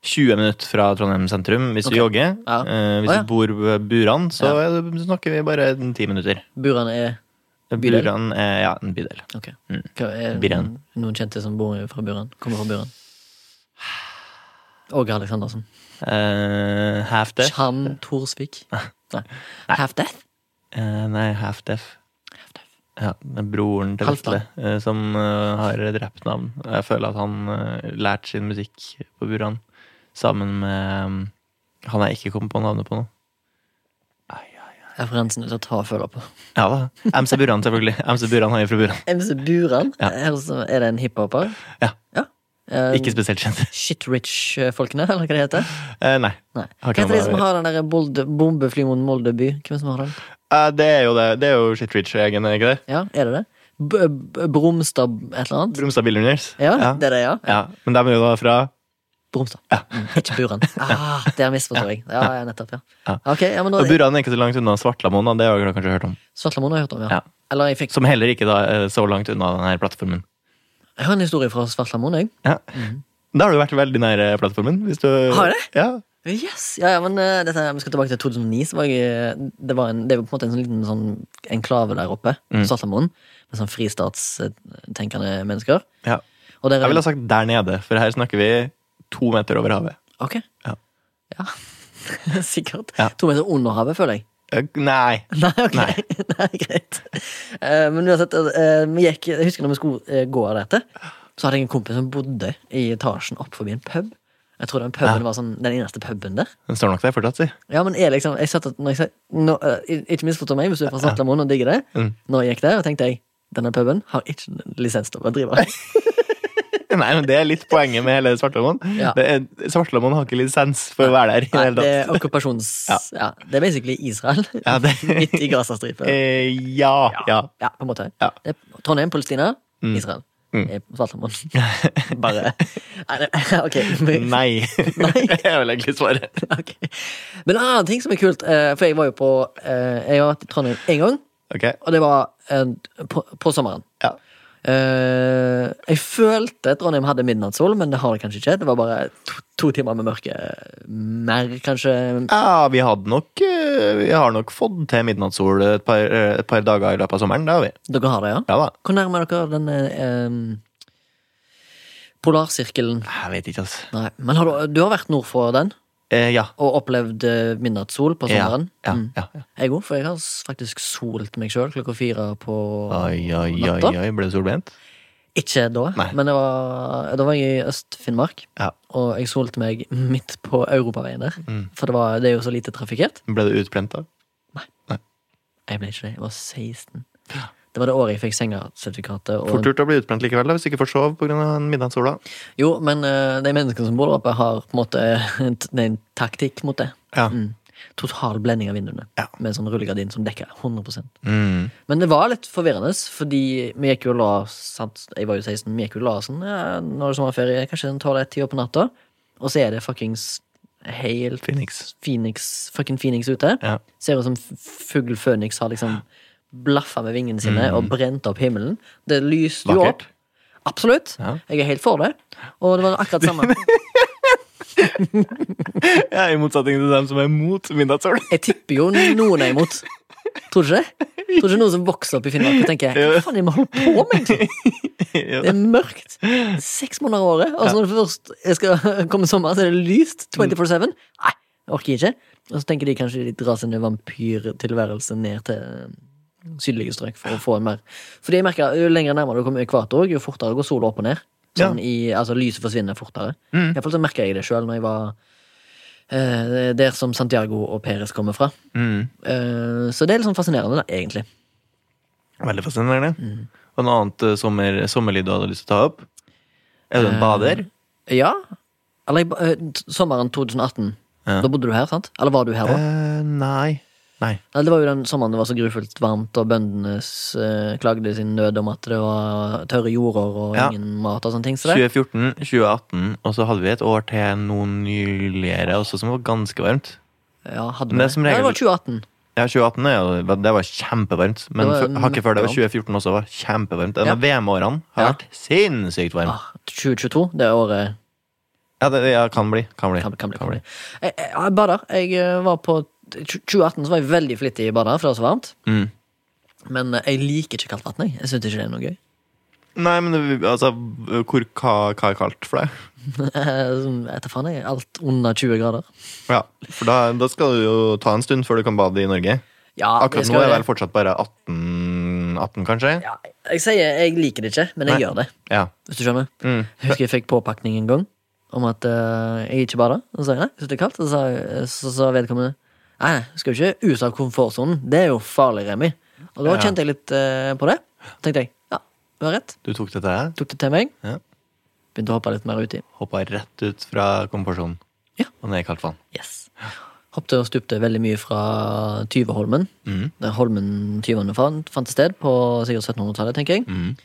Speaker 2: 20 minutter fra Trondheim sentrum hvis du jogger.
Speaker 1: Ja.
Speaker 2: Eh, hvis
Speaker 1: Å, ja.
Speaker 2: du bor ved Buran, så er det- snakker vi bare 10 minutter.
Speaker 1: Buran er Bydel?
Speaker 2: Buran er ja, en bydel.
Speaker 1: Ok.
Speaker 2: Mm.
Speaker 1: Hva er
Speaker 2: Buran.
Speaker 1: noen kjente som bor fra Buran? Kommer fra Buran? Åge Aleksandersen.
Speaker 2: Eh, half deaf.
Speaker 1: Chan Thorsvik. Nei. Half Death?
Speaker 2: Eh, nei, half deaf. Ja, det er broren til Vetle
Speaker 1: Halvdan.
Speaker 2: eh, som eh, har drept navn. Jeg føler at han eh, lærte sin musikk på Buran sammen med um, han jeg ikke kom på navnet på nå.
Speaker 1: Referansen er til å ta og føle på.
Speaker 2: Ja da. MC Buran, selvfølgelig. MC Buran han er fra Buran.
Speaker 1: MC Buran.
Speaker 2: Ja.
Speaker 1: Her så Er det en hiphoper?
Speaker 2: Ja.
Speaker 1: Eh,
Speaker 2: Ikke spesielt kjent.
Speaker 1: Shit Rich-folkene, eller hva det heter?
Speaker 2: Eh, nei.
Speaker 1: Nei. Hva
Speaker 2: Har ikke
Speaker 1: heter de
Speaker 2: noe
Speaker 1: som
Speaker 2: med-
Speaker 1: har den der bolde- bombefly mot Molde by? Hvem som har den?
Speaker 2: Eh, det er jo det. Det er jo Shitrich-egen, er ikke det?
Speaker 1: Ja, er det det? B B- Bromstad et eller annet?
Speaker 2: Bromstad Billionaires.
Speaker 1: Ja,
Speaker 2: ja.
Speaker 1: det er det, ja.
Speaker 2: ja. Men de er jo da fra
Speaker 1: Bromstad. Mm, ikke Buran. Ah, det misforstår jeg. Ja, ja, nettopp, ja.
Speaker 2: Ja.
Speaker 1: Ok, ja, men
Speaker 2: Og
Speaker 1: da
Speaker 2: Buran er ikke så langt unna Svartlamoen, da. det har dere kanskje hørt om.
Speaker 1: Svartlamoen har jeg hørt om, ja.
Speaker 2: Ja.
Speaker 1: Eller jeg fikk
Speaker 2: Som heller ikke da er så langt unna denne plattformen.
Speaker 1: Jeg har en historie fra Svartlamoen, jeg.
Speaker 2: Ja. Da har du vært veldig nær eh, plattformen. Hvis du...
Speaker 1: Mhm. Har jeg
Speaker 2: Ja.
Speaker 1: Yes! Ja, ja, men eh, dette, her- vi skal tilbake til 2009. Så var jeg, eh, det, var en, det er jo på en måte en sånn liten sånn enklave der oppe, mm. Svartlamoen, med sånn fristatstenkende mennesker.
Speaker 2: ja.
Speaker 1: Og der,
Speaker 2: Jeg ville ha sagt der nede, for her snakker vi to meter over havet.
Speaker 1: Ok.
Speaker 2: Ja.
Speaker 1: Ja. Sikkert.
Speaker 2: Ja.
Speaker 1: To meter under havet, føler jeg.
Speaker 2: Eh, Nei.
Speaker 1: Nei, ok. Nei.
Speaker 2: Nei.
Speaker 1: greit. Eh, men uansett, eh, vi gikk, jeg husker når vi skulle eh, gå av dette, så hadde jeg en kompis som bodde i etasjen opp forbi en pub. Jeg tror den puben var sånn, den eneste puben der.
Speaker 2: Den står nok der fortsatt, si.
Speaker 1: Ja, men jeg liksom, jeg satt at når jeg sa, nå, eh, Ikke misforstå meg hvis du er fra Svartlamoen og digger det.
Speaker 2: Mm.
Speaker 1: Når jeg gikk der, tenkte jeg denne puben har ikke lisens til å drive.
Speaker 2: Nei, men Det er litt poenget med hele Svartlamoen.
Speaker 1: Ja.
Speaker 2: Det er- Svartlamoen har ikke lisens for å være der. i
Speaker 1: Nei,
Speaker 2: hele
Speaker 1: det
Speaker 2: tatt.
Speaker 1: er okkupasjons... Ja.
Speaker 2: Ja.
Speaker 1: det er basically Israel.
Speaker 2: Ja, det-
Speaker 1: Midt i Gazastripen.
Speaker 2: Eh, ja, ja.
Speaker 1: Ja, på en måte.
Speaker 2: Ja.
Speaker 1: Det er Trondheim, Palestina, Israel.
Speaker 2: Mm.
Speaker 1: Eh, Svartlamoen. Bare Nei, det, ok. Nei.
Speaker 2: Nei. Det er vel egentlig svaret.
Speaker 1: ok. Men en annen ting som er kult, eh, for jeg var jo på eh, Jeg har vært i Trondheim én gang,
Speaker 2: Ok,
Speaker 1: og det var eh, på, på sommeren.
Speaker 2: ja.
Speaker 1: Eh, jeg følte Trondheim hadde midnattssol, men det har det kanskje ikke. Det var bare to, to timer med mørke. Mer, kanskje.
Speaker 2: ja vi, hadde nok, eh, vi har nok fått til midnattssol et par, eh, et par dager i løpet av sommeren. Det har vi.
Speaker 1: Dere har det, ja?
Speaker 2: Ja da.
Speaker 1: Hvor nærme er dere den eh, polarsirkelen?
Speaker 2: Jeg vet ikke, altså.
Speaker 1: Nei, men har du, du har vært nord for den
Speaker 2: Eh, ja.
Speaker 1: og opplevd eh, midnattssol på
Speaker 2: Ja,
Speaker 1: sommeren?
Speaker 2: ja,
Speaker 1: Mm.
Speaker 2: ja, ja.
Speaker 1: Jeg òg, for jeg har s- faktisk solt meg sjøl klokka fire på
Speaker 2: Oi, oi, oi,
Speaker 1: Natta?
Speaker 2: oi. Ble du solbrent?
Speaker 1: Ikke da,
Speaker 2: Nei.
Speaker 1: men det var, da var jeg i Øst-Finnmark.
Speaker 2: Ja.
Speaker 1: Og jeg solte meg midt på europaveien der,
Speaker 2: Mm.
Speaker 1: for det, var, det er jo så lite trafikkert.
Speaker 2: Ble du utbrent da?
Speaker 1: Jeg ble ikke det. Jeg var 16. Det var det året jeg fikk sengesertifikatet.
Speaker 2: Fort
Speaker 1: Og,
Speaker 2: gjort å bli utbrent likevel, da, hvis du ikke får sove pga. midnattssola.
Speaker 1: jo, men eh, de menneskene som bor der oppe, har på en måte en, t- det er en taktikk mot det.
Speaker 2: Ja.
Speaker 1: Mm. Total blending av vinduene,
Speaker 2: Ja.
Speaker 1: med en sånn rullegardin som dekker 100
Speaker 2: Mm.
Speaker 1: Men det var litt forvirrende, fordi vi gikk jo og la oss sant? Jeg var jo 16, vi gikk jo og la oss sånn ja, Nå er det sommerferie, kanskje den tar det ti år på natta, og så er det fuckings helt
Speaker 2: Phoenix.
Speaker 1: Phoenix, fucking Phoenix ute.
Speaker 2: Ja.
Speaker 1: Ser ut som f- fugl Phoenix har liksom blaffa med vingene sine og brent opp himmelen. Det lyste jo opp.
Speaker 2: Mm. Vakkert.
Speaker 1: Absolutt.
Speaker 2: Ja.
Speaker 1: Jeg er helt for det. Og det var akkurat samme.
Speaker 2: Ja, I motsetning til dem som er mot midnattssol.
Speaker 1: Jeg tipper jo noen er imot. Tror du ikke det? Tror du ikke noen som vokser opp i Finnmark og tenker Hva faen er det vi holder på med? egentlig?
Speaker 2: Ja.
Speaker 1: Det er mørkt. Seks måneder av året, og så når det først skal komme sommer, så er det lyst 24-7. Nei, jeg orker ikke. Og så tenker de kanskje de drar sin vampyrtilværelse ned til eh, sydlige strøk for å få en mer Fordi jeg merker jo lenger nærmere du kommer ekvator, jo fortere går sola opp og ned. Sånn i, altså Lyset forsvinner fortere. I hvert fall så merker jeg det sjøl når jeg var eh, der som Santiago og Peres kommer fra.
Speaker 2: Mm.
Speaker 1: Eh, så det er litt sånn fascinerende, da, egentlig.
Speaker 2: Veldig fascinerende. Og noe annet eh, sommer, sommerlyd du hadde lyst til å ta opp? Er du en bader?
Speaker 1: Ja. Eller jeg ba- eh, t- sommeren 2018.
Speaker 2: Ja.
Speaker 1: Da bodde du her, sant? Eller var du her da?
Speaker 2: Eh, nei. Nei.
Speaker 1: Nei, Det var jo den sommeren det var så grufullt varmt, og bøndene eh, klagde sin nød om at det var tørre jorder og
Speaker 2: Ja.
Speaker 1: ingen mat og sånne ting. Så det.
Speaker 2: 2014, 2018, og så hadde vi et år til noe nyligere også som var ganske varmt.
Speaker 1: Ja, hadde
Speaker 2: Men
Speaker 1: vi
Speaker 2: det er som
Speaker 1: Nei, det
Speaker 2: regel-
Speaker 1: var 2018.
Speaker 2: Ja, 2018 er jo, det var kjempevarmt. Men
Speaker 1: Det var
Speaker 2: f- hakket før det var
Speaker 1: varmt.
Speaker 2: 2014 også var kjempevarmt. En
Speaker 1: Ja.
Speaker 2: av VM-årene har
Speaker 1: Ja.
Speaker 2: vært sinnssykt varm.
Speaker 1: Ah, 2022, det er året
Speaker 2: Ja, det ja, kan bli. Kan bli.
Speaker 1: kan, kan bli. Kan bli. Jeg, jeg, jeg bader. Jeg eh, var på 2018 så var jeg veldig flittig i å bade, for det var så varmt.
Speaker 2: Mm.
Speaker 1: Men eh, jeg liker ikke kaldt vann. Jeg, jeg syns ikke det er noe gøy.
Speaker 2: Nei, men det- altså, hvor, hva, hva er kaldt for deg?
Speaker 1: Etter faen jeg alt under 20 grader.
Speaker 2: Ja, for da, da skal du jo ta en stund før du kan bade i Norge.
Speaker 1: Ja,
Speaker 2: Akkurat
Speaker 1: skal
Speaker 2: nå er jeg
Speaker 1: jeg-
Speaker 2: vel fortsatt bare 18, 18 kanskje?
Speaker 1: ja, Jeg sier jeg liker det ikke, men jeg
Speaker 2: Nei.
Speaker 1: gjør det.
Speaker 2: Ja.
Speaker 1: Hvis du skjønner
Speaker 2: Mm.
Speaker 1: Jeg husker jeg fikk påpakning en gang om at eh, jeg ikke bader. Og så sa jeg nei, syns det er kaldt. Og så sa jeg- så sa vedkommende nei, nei, skal jo ikke ut av komfortsonen. Det er jo farlig, Remi. Og da
Speaker 2: Ja.
Speaker 1: kjente jeg litt eh, på det. Tenkte jeg ja, du har rett.
Speaker 2: Du tok dette her,
Speaker 1: Tok det til meg.
Speaker 2: Ja.
Speaker 1: Begynte å hoppe litt mer uti.
Speaker 2: hoppa rett ut fra komfortsonen
Speaker 1: Ja.
Speaker 2: og ned i kaldt vann.
Speaker 1: Yes. Hoppte og stupte veldig mye fra Tyveholmen.
Speaker 2: Mm.
Speaker 1: Der Holmen tyvene fant, fant sted på sikkert 1700-tallet, tenker jeg.
Speaker 2: Mm.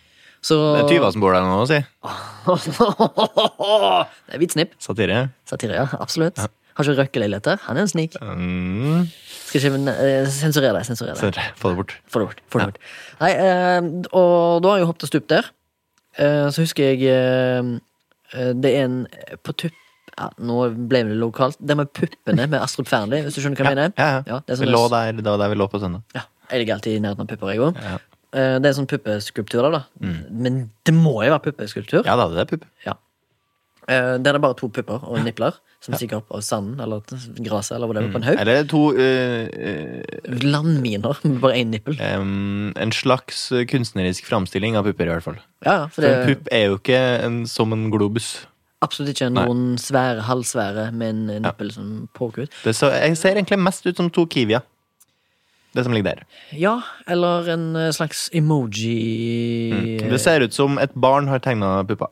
Speaker 1: Så
Speaker 2: Det er tyver som bor der nå, si.
Speaker 1: Det er hvitt snipp.
Speaker 2: Satire.
Speaker 1: Satire, ja. Absolutt. Har ikke røkkeleiligheter. Han er en snik.
Speaker 2: Mm.
Speaker 1: Skal ikke eh, sensurere deg. sensurere deg.
Speaker 2: Så Få det bort.
Speaker 1: Få det bort. Få det bort. Nei, eh, og da har jeg hoppet og stupt der. Eh, så husker jeg eh, eh, Det er en på tupp... Ja, nå ble det lokalt. Det med puppene med Astrup Fearnley, hvis du skjønner hva jeg mener.
Speaker 2: Ja, ja.
Speaker 1: Ja, det er
Speaker 2: vi
Speaker 1: sånn-
Speaker 2: lå der, det var der vi lå på søndag.
Speaker 1: Ja, jeg ligger alltid i nærheten av pupper, jeg òg.
Speaker 2: Ja. Mm.
Speaker 1: Det er sånn puppeskulptur, da. da. Men det må jo være puppeskulptur.
Speaker 2: Ja da, det er pupp.
Speaker 1: Eh, Der er det bare to pupper og nipler som stikker opp av sanden eller gresset eller
Speaker 2: Mm.
Speaker 1: whatever på en haug.
Speaker 2: Eller to eh, eh,
Speaker 1: Landminer med bare én nippel.
Speaker 2: em, En slags eh, kunstnerisk framstilling av pupper, i hvert fall.
Speaker 1: Ja, ja, for
Speaker 2: For
Speaker 1: det
Speaker 2: en
Speaker 1: er
Speaker 2: pupp er jo ikke en, som en globus.
Speaker 1: absolutt ikke noen svære, halvsvære med en eh, nippel som poker ut.
Speaker 2: Det så, jeg ser egentlig mest ut som to kiwier. Det som ligger der.
Speaker 1: Ja, eller en eh, slags emoji
Speaker 2: Det ser ut som et barn har tegna puppa.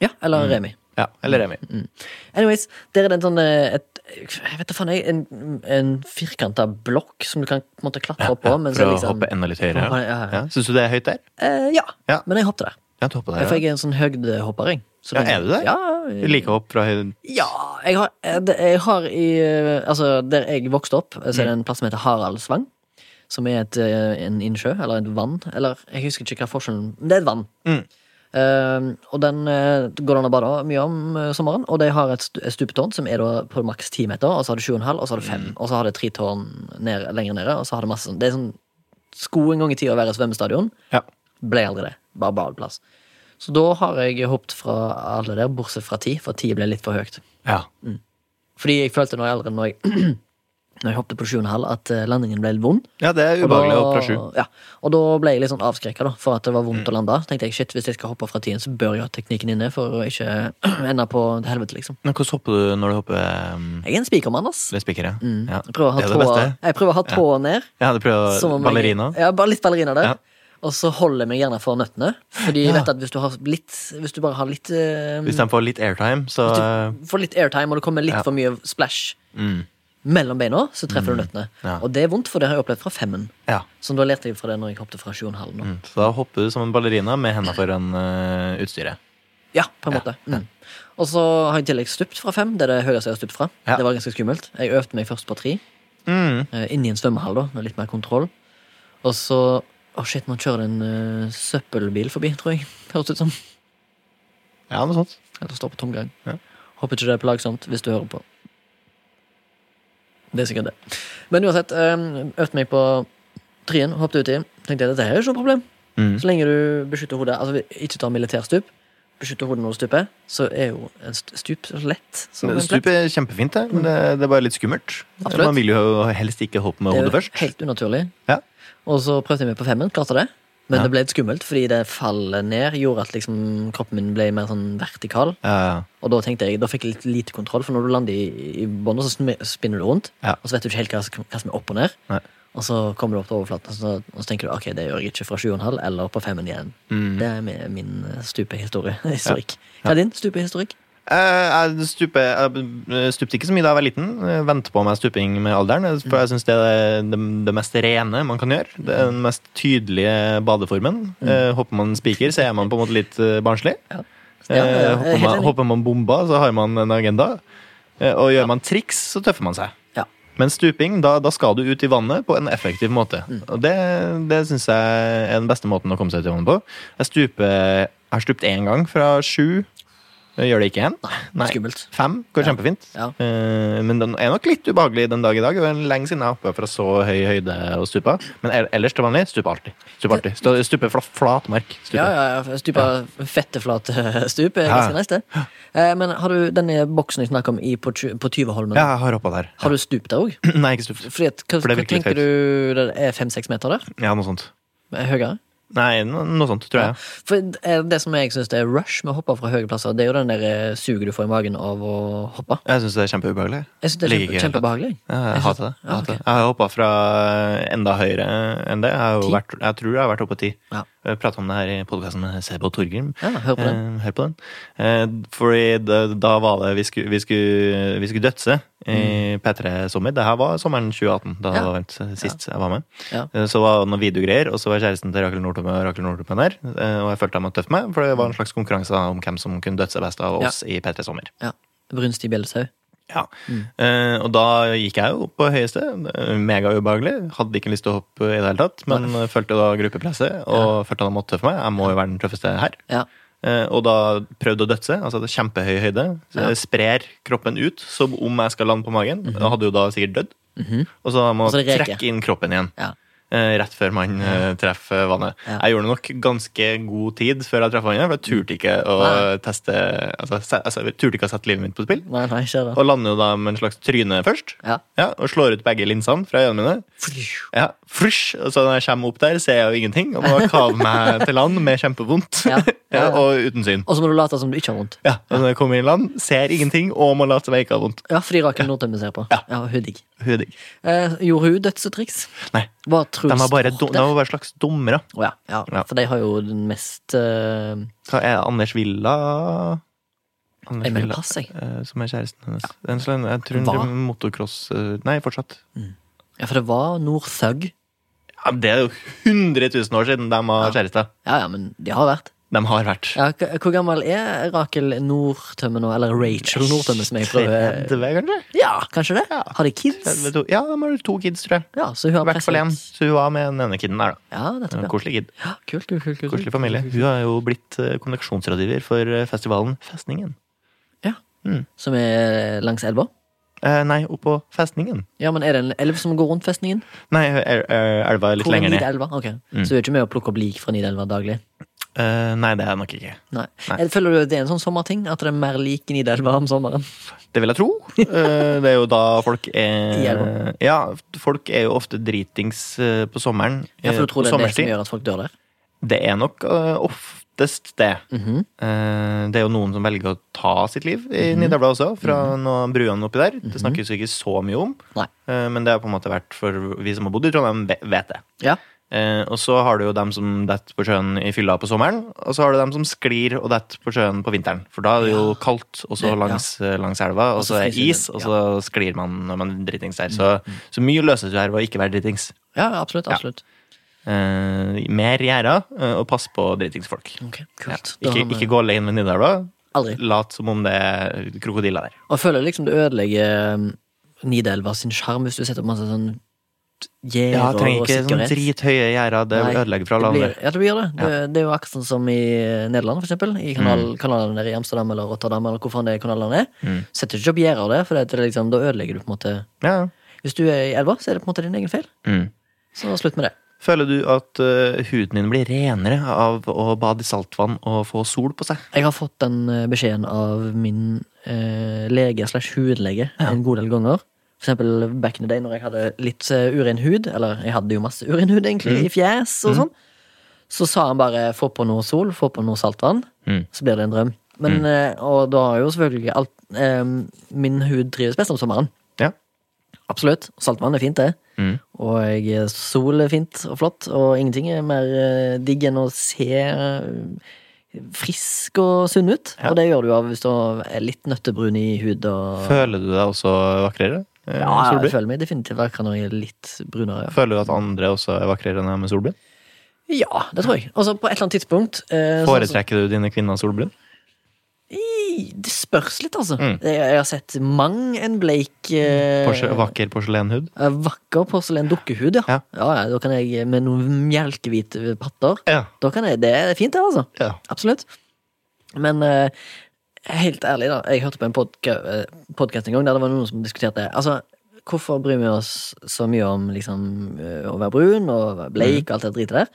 Speaker 1: Ja, eller
Speaker 2: Mm.
Speaker 1: Remi.
Speaker 2: Ja, eller Remi.
Speaker 1: Mm. Anyways, der er det en sånn eh, et, Jeg vet da faen, jeg. En, en firkanta blokk som du kan på en måte klatre opp på. mens
Speaker 2: For å
Speaker 1: jeg liksom,
Speaker 2: hoppe enda litt høyere.
Speaker 1: Hoppe- ja, ja.
Speaker 2: Syns du det er høyt der?
Speaker 1: Eh, ja.
Speaker 2: Ja.
Speaker 1: men jeg hoppet der.
Speaker 2: Ja, du hopper
Speaker 1: Ja, For
Speaker 2: der. Ja.
Speaker 1: jeg er en sånn høydehopper. jeg. Så
Speaker 2: Ja,
Speaker 1: den-
Speaker 2: er du det?
Speaker 1: Ja,
Speaker 2: Du liker å hoppe fra høyden.
Speaker 1: ja jeg, har, eh, det- jeg har i eh, Altså, der jeg vokste opp, så er det en plass som heter Haraldsvang. Som er et, eh, en innsjø, eller et vann. Eller jeg husker ikke hva forskjellen men Det er et vann.
Speaker 2: Mm.
Speaker 1: Eh, og den eh, går det an å bade mye om eh, sommeren. Og de har et stu- et stupetårn som er da på maks ti meter, og så har det sju og en halv, og så har det fem. Og så har det tre tårn ned, lenger nede, og så har det masse sånn Det er sånn sko en gang i tida å være svømmestadion.
Speaker 2: Ja.
Speaker 1: Ble aldri det. Bare badeplass. Så da har jeg hoppet fra alle der, bortsett fra ti, for ti ble litt for høyt.
Speaker 2: ja.
Speaker 1: Fordi jeg følte når jeg, allerede når jeg, når jeg hoppet på sju og en halv, at eh, landingen ble litt vond.
Speaker 2: Ja, det er
Speaker 1: Og da-
Speaker 2: ubehagelig å hoppe fra sju. Mm.
Speaker 1: Ja, og da ble jeg litt sånn avskrekka, da, for at det var vondt å lande. Så tenkte jeg shit, hvis jeg skal hoppe fra tien, så bør jeg ha teknikken inne for å ikke ende på helvete, liksom.
Speaker 2: Men hvordan hopper du når du hopper um,
Speaker 1: Jeg er en spikermann, ass.
Speaker 2: ved spikere? Ja.
Speaker 1: Jeg prøver Mm. å ha
Speaker 2: Det er det
Speaker 1: tåa,
Speaker 2: beste.
Speaker 1: jeg prøver å ha tåa ned.
Speaker 2: Jeg hadde prøvd
Speaker 1: Som om jeg-
Speaker 2: ballerina.
Speaker 1: Ja, bare litt ballerina der.
Speaker 2: Ja.
Speaker 1: Og så holder jeg meg gjerne for nøttene. Fordi jeg
Speaker 2: Ja.
Speaker 1: vet at hvis du, har litt, hvis du bare har litt eh,
Speaker 2: Hvis de får litt airtime, så eh,
Speaker 1: får litt airtime, og det kommer litt
Speaker 2: Ja.
Speaker 1: for mye splash
Speaker 2: mm,
Speaker 1: mellom beina, så treffer du nøttene.
Speaker 2: Ja.
Speaker 1: Og det er vondt, for det har jeg opplevd fra femmen.
Speaker 2: ja.
Speaker 1: Så da lærte jeg fra det når jeg hoppet fra 7,5 nå.
Speaker 2: Mm. Så da hopper du som en ballerina med hendene foran eh, utstyret.
Speaker 1: Ja, på en måte. Mm. Og så har jeg i tillegg stupt fra fem. Det er det høyeste jeg har stupt fra.
Speaker 2: Ja.
Speaker 1: Det var ganske skummelt. Jeg øvde meg først på tre,
Speaker 2: Mm.
Speaker 1: eh, inni en svømmehall, da, med litt mer kontroll. Og så Å, shit, nå kjører det en eh, søppelbil forbi, tror jeg. Høres ut som.
Speaker 2: Ja, noe sånt.
Speaker 1: Eller står på tomgang.
Speaker 2: Ja.
Speaker 1: Håper ikke det er plagsomt hvis du hører på. Det er sikkert det. Men uansett, øhm, øvde meg på trien, hoppet uti. Tenkte jeg, dette her er ikke noe problem.
Speaker 2: Mm.
Speaker 1: Så lenge du beskytter hodet, altså ikke tar militærstup, beskytter hodet når du stuper, så er jo en st- stup så lett. som en
Speaker 2: Stup
Speaker 1: plett.
Speaker 2: er kjempefint, det, men det, det er bare litt skummelt.
Speaker 1: Absolutt.
Speaker 2: Man vil jo helst ikke hoppe med
Speaker 1: Det er
Speaker 2: hodet
Speaker 1: jo
Speaker 2: først.
Speaker 1: helt unaturlig.
Speaker 2: Ja.
Speaker 1: Og så prøvde jeg meg på femmen, klarte det. Men
Speaker 2: Ja.
Speaker 1: det ble litt skummelt, fordi det fallet ned gjorde at liksom, kroppen min ble mer sånn vertikal.
Speaker 2: Ja, ja.
Speaker 1: Og da tenkte jeg, da fikk jeg litt lite kontroll, for når du lander i, i båndet, så sm- spinner du rundt.
Speaker 2: Ja.
Speaker 1: Og så vet du ikke helt hva, som- hva som er opp og ned.
Speaker 2: Nei.
Speaker 1: Og så kommer du opp til overflaten, og så, og så tenker du ok, det gjør jeg ikke fra 7,5 eller på 5 igjen.
Speaker 2: Mm.
Speaker 1: Det er mi- min eh, stupehistorie. Historikk. Hva er din stupehistorikk?
Speaker 2: Eh, Jeg stupe, jeg stupte ikke så mye da jeg var liten. Jeg Venter på meg stuping med alderen. For jeg syns det er det, det mest rene man kan gjøre. Det er den mest tydelige badeformen. Eh, Hopper man spiker, så er man på en måte litt eh, barnslig.
Speaker 1: Ja.
Speaker 2: Eh,
Speaker 1: Ja, ja, ja.
Speaker 2: hopper,
Speaker 1: Helt
Speaker 2: man,
Speaker 1: enig.
Speaker 2: hopper man bomba, så har man en agenda. Eh, Og gjør man triks, så tøffer man seg.
Speaker 1: Ja.
Speaker 2: Men stuping, da, da skal du ut i vannet på en effektiv måte.
Speaker 1: Mm.
Speaker 2: Og det, det syns jeg er den beste måten å komme seg ut i vannet på. Jeg stuper, jeg har stupt én gang fra sju. Jeg gjør det ikke igjen. Nei.
Speaker 1: Skummelt.
Speaker 2: Fem går
Speaker 1: Ja.
Speaker 2: kjempefint.
Speaker 1: Ja.
Speaker 2: Eh, men den er nok litt ubehagelig den dag i dag. Det er lenge siden jeg har hoppa fra så høy høyde og stupa. Men el- ellers til vanlig stuper alltid. Stuper alltid. Stå- Stuper fla, flat mark.
Speaker 1: Ja,
Speaker 2: Stuper.
Speaker 1: ja, ja. Stupa fetteflate stup er ganske
Speaker 2: Ja.
Speaker 1: nice, det. Eh, Men har du denne boksen jeg snakker om i på, tju- på Tyveholmen?
Speaker 2: Ja, jeg har hoppa der.
Speaker 1: Har du stup der òg?
Speaker 2: Nei, ikke stupt.
Speaker 1: Fordi at, hva,
Speaker 2: For det er
Speaker 1: hva
Speaker 2: virkelig
Speaker 1: tenker du det er fem-seks meter der?
Speaker 2: Ja, noe sånt.
Speaker 1: Eh, Høyere?
Speaker 2: Nei, no, noe sånt, tror jeg.
Speaker 1: For eh, det som jeg syns er rush med å hoppe fra høye plasser, det er jo den der eh, suget du får i magen av å hoppe.
Speaker 2: Jeg syns det er kjempeubehagelig.
Speaker 1: Jeg syns det er
Speaker 2: Ligger
Speaker 1: kjempe,
Speaker 2: ikke helt.
Speaker 1: kjempebehagelig.
Speaker 2: Ja, jeg,
Speaker 1: Jeg
Speaker 2: hater det.
Speaker 1: synes-
Speaker 2: Jeg,
Speaker 1: Ja,
Speaker 2: hater det.
Speaker 1: ok.
Speaker 2: jeg har hoppa fra enda høyere enn det. Jeg, har jo
Speaker 1: Ti?
Speaker 2: vært, jeg tror jeg har vært oppe på ti.
Speaker 1: Ja.
Speaker 2: Jeg Prata om det her i podkasten med Sebo og Torgrim.
Speaker 1: Ja, hør på den.
Speaker 2: Eh, Hør på den. Eh, Fordi da, da var det Vi skulle, vi skulle, vi skulle dødse i P3 Sommer. Det her var sommeren 2018, da det
Speaker 1: Mm. Ja.
Speaker 2: var varmt sist jeg var med.
Speaker 1: Ja.
Speaker 2: Eh, Så var det noen videogreier, og så var kjæresten til Rakel Nordtun og Rakel Nordtun der. eh, Og jeg følte jeg måtte tøffe meg, for det var en slags konkurranse om hvem som kunne dødse best av
Speaker 1: Ja.
Speaker 2: oss i P3 Sommer.
Speaker 1: Ja. Brunstig bjellesau.
Speaker 2: Ja. Eh, og da gikk jeg jo opp på høyeste. eh, Mega ubehagelig. Hadde ikke lyst til å hoppe i det hele tatt, men eh, følte da gruppepresset og følte at jeg måtte tøffe meg. Jeg må jo være den tøffeste her.
Speaker 1: Ja.
Speaker 2: Eh, og da prøvde å dødse. Altså det er kjempehøy høyde. Så
Speaker 1: Ja. Mhm.
Speaker 2: jeg Sprer kroppen ut som om jeg skal lande på magen. Jeg Hadde jo da sikkert dødd. Og så må
Speaker 1: Og så
Speaker 2: jeg
Speaker 1: det reker.
Speaker 2: trekke inn kroppen igjen.
Speaker 1: Ja.
Speaker 2: eh, Rett før man eh, treffer vannet.
Speaker 1: Ja.
Speaker 2: Jeg gjorde nok ganske god tid før jeg traff vannet, for jeg turte ikke å
Speaker 1: Nei.
Speaker 2: teste altså, se- altså, Jeg turte ikke å sette livet mitt på spill.
Speaker 1: Nei, nei, skjer det.
Speaker 2: Og lander jo da med en slags tryne først.
Speaker 1: Ja.
Speaker 2: og slår ut begge linsene fra øynene mine. Ja, frysh, og så når jeg kommer opp der, ser jeg jo ingenting. Og må kave meg til land med kjempevondt.
Speaker 1: Ja, ja, ja.
Speaker 2: og uten syn.
Speaker 1: Og så må du late som du ikke har vondt.
Speaker 2: Ja, og når jeg kommer i land, ser ingenting og må late som jeg ikke har vondt.
Speaker 1: Ja, fordi Rakel Nordtømme ser på.
Speaker 2: Ja.
Speaker 1: Ja, hun digg.
Speaker 2: Hun er digg.
Speaker 1: Eh, gjorde hun dødsetriks?
Speaker 2: Nei,
Speaker 1: Var Truls
Speaker 2: de var bare,
Speaker 1: Torp
Speaker 2: dum,
Speaker 1: der?
Speaker 2: de var bare slags dummere.
Speaker 1: Å ja, ja.
Speaker 2: Ja.
Speaker 1: for de har jo den mest eh,
Speaker 2: Hva er det? Anders Villa? Anders
Speaker 1: Jeg mener pass, jeg.
Speaker 2: eh, som er kjæresten hennes. En slags, jeg tror hun
Speaker 1: Hva?
Speaker 2: driver med motocross eh, Nei, fortsatt.
Speaker 1: Ja, for det var Northug.
Speaker 2: Ja, det er jo 100 000 år siden de har kjæreste.
Speaker 1: Ja, ja, men de har vært.
Speaker 2: De har vært
Speaker 1: Ja, k- hvor gammel er Rakel Nordtømme nå? Eller Rachel Nordtømme, som jeg prøver
Speaker 2: 30, kanskje?
Speaker 1: Ja, kanskje det?
Speaker 2: Ja.
Speaker 1: Har de kids?
Speaker 2: 32. Ja, de har to kids, tror jeg.
Speaker 1: Ja, så hun
Speaker 2: I
Speaker 1: har
Speaker 2: hvert fall
Speaker 1: presset-
Speaker 2: én. Så hun var med den ene kiden der, da.
Speaker 1: Ja, nettopp,
Speaker 2: En
Speaker 1: ja.
Speaker 2: Koselig kid.
Speaker 1: ja. Kult, kult, kult. kult.
Speaker 2: Koselig familie. Hun har jo blitt eh, kommunikasjonsrådgiver for eh, festivalen Festningen.
Speaker 1: Som er langs elva?
Speaker 2: Eh, nei, oppå Festningen.
Speaker 1: Ja, men er det en elv som går rundt festningen?
Speaker 2: Nei, eh, er, er, elva er litt
Speaker 1: Hvor er
Speaker 2: lenger ned. Mm.
Speaker 1: Nidelva? Ok. Så du er ikke med å plukke opp lik fra Nidelva daglig?
Speaker 2: Eh, nei, det er jeg nok ikke.
Speaker 1: Nei.
Speaker 2: Nei.
Speaker 1: Jeg Føler du det er en sånn sommerting? At det er mer lik i Nidelva om sommeren?
Speaker 2: Det vil jeg tro. Eh, det er jo da folk er
Speaker 1: I elva.
Speaker 2: Ja, folk er jo ofte dritings eh, på sommeren.
Speaker 1: Ja, for du
Speaker 2: eh,
Speaker 1: tror
Speaker 2: på
Speaker 1: det er det
Speaker 2: sommerstid.
Speaker 1: som gjør at folk dør der?
Speaker 2: Det er nok eh, oftest det.
Speaker 1: Mhm.
Speaker 2: Eh, det er jo noen som velger å ta sitt liv i Nidelva også, fra noen av bruene oppi der. Det snakkes jo ikke så mye om,
Speaker 1: Mhm. Nei.
Speaker 2: eh, men det har på en måte vært for vi som har bodd i Trondheim, ve- vet det.
Speaker 1: Ja.
Speaker 2: Eh, og så har du jo dem som detter på sjøen i fylla på sommeren, og så har du dem som sklir og detter på sjøen på vinteren. For da er det jo kaldt, og så
Speaker 1: Det- ja.
Speaker 2: langs, eh, langs elva, og
Speaker 1: så
Speaker 2: så er det
Speaker 1: fryser
Speaker 2: is,
Speaker 1: den, Mhm.
Speaker 2: og så sklir man når man er dritings der. Så, så mye løses jo her ved å ikke være dritings.
Speaker 1: ja, absolutt. absolutt.
Speaker 2: Eh, mer gjerder, eh, og pass på dritingsfolk.
Speaker 1: Ok,
Speaker 2: Ja.
Speaker 1: kult. Da
Speaker 2: Ikke,
Speaker 1: har vi-
Speaker 2: ikke gå alene ved Nidelva.
Speaker 1: Aldri.
Speaker 2: Lat som om det er krokodiller der.
Speaker 1: Og jeg føler liksom det ødelegger um, Nidelva sin sjarm hvis du setter opp masse sånn gjerder
Speaker 2: Ja, trenger
Speaker 1: og
Speaker 2: ikke sånn
Speaker 1: sikkerhet.
Speaker 2: drithøye gjerder. Det
Speaker 1: Nei,
Speaker 2: ødelegger for
Speaker 1: det
Speaker 2: alle
Speaker 1: blir,
Speaker 2: andre.
Speaker 1: ja, det blir det. det. Det er jo akkurat sånn som i Nederland, for eksempel. I kanal,
Speaker 2: Mm.
Speaker 1: kanalene der i Amsterdam eller Rotterdam, eller hvor faen det er kanalene er. Setter du ikke opp gjerder der, for det, er liksom, da ødelegger du på en måte
Speaker 2: Ja.
Speaker 1: Hvis du er i elva, så er det på en måte din egen feil.
Speaker 2: Mm.
Speaker 1: Så slutt med det.
Speaker 2: Føler du at eh, huden din blir renere av å bade i saltvann og få sol på seg?
Speaker 1: Jeg har fått den eh, beskjeden av min eh, lege slash hudlege en god del ganger. For eksempel back in the day når jeg hadde litt eh, uren hud, eller jeg hadde jo masse uren hud egentlig, i fjes og sånn, så sa han bare få på noe sol, få på noe saltvann,
Speaker 2: Mm.
Speaker 1: så blir det en drøm. Men, eh, og da har jo selvfølgelig alt, eh, min hud trives best om sommeren.
Speaker 2: Ja.
Speaker 1: Absolutt. Saltvann er fint, det.
Speaker 2: Mm.
Speaker 1: Og eh, sol er fint og flott, og ingenting er mer eh, digg enn å se eh, frisk og sunn ut. Og det gjør du av hvis du er litt nøttebrun i hud og
Speaker 2: Føler du deg også vakrere? eh,
Speaker 1: ja,
Speaker 2: med
Speaker 1: jeg
Speaker 2: solbryn?
Speaker 1: føler meg definitivt vakrere når jeg er litt brunere.
Speaker 2: Føler du at andre også er vakrere enn deg med solbrun?
Speaker 1: Ja, det tror jeg. Og så på et eller annet tidspunkt eh, sånn som-
Speaker 2: Foretrekker du dine kvinner solbrun?
Speaker 1: Nei, det spørs litt, altså.
Speaker 2: Mm.
Speaker 1: Jeg, jeg har sett mang en bleik eh,
Speaker 2: Porsche, vakker porselenhud.
Speaker 1: eh, Vakker porselen dukkehud, ja.
Speaker 2: Ja.
Speaker 1: Ja, ja. Da kan jeg med noen mjelkehvite patter
Speaker 2: Ja.
Speaker 1: da kan jeg, Det er fint, det, altså.
Speaker 2: ja.
Speaker 1: Absolutt. Men eh, helt ærlig, da. Jeg hørte på en podka podkast en gang der det var noen som diskuterte Altså, hvorfor bryr vi oss så mye om liksom, eh, å være brun og være bleik og alt det dritet der?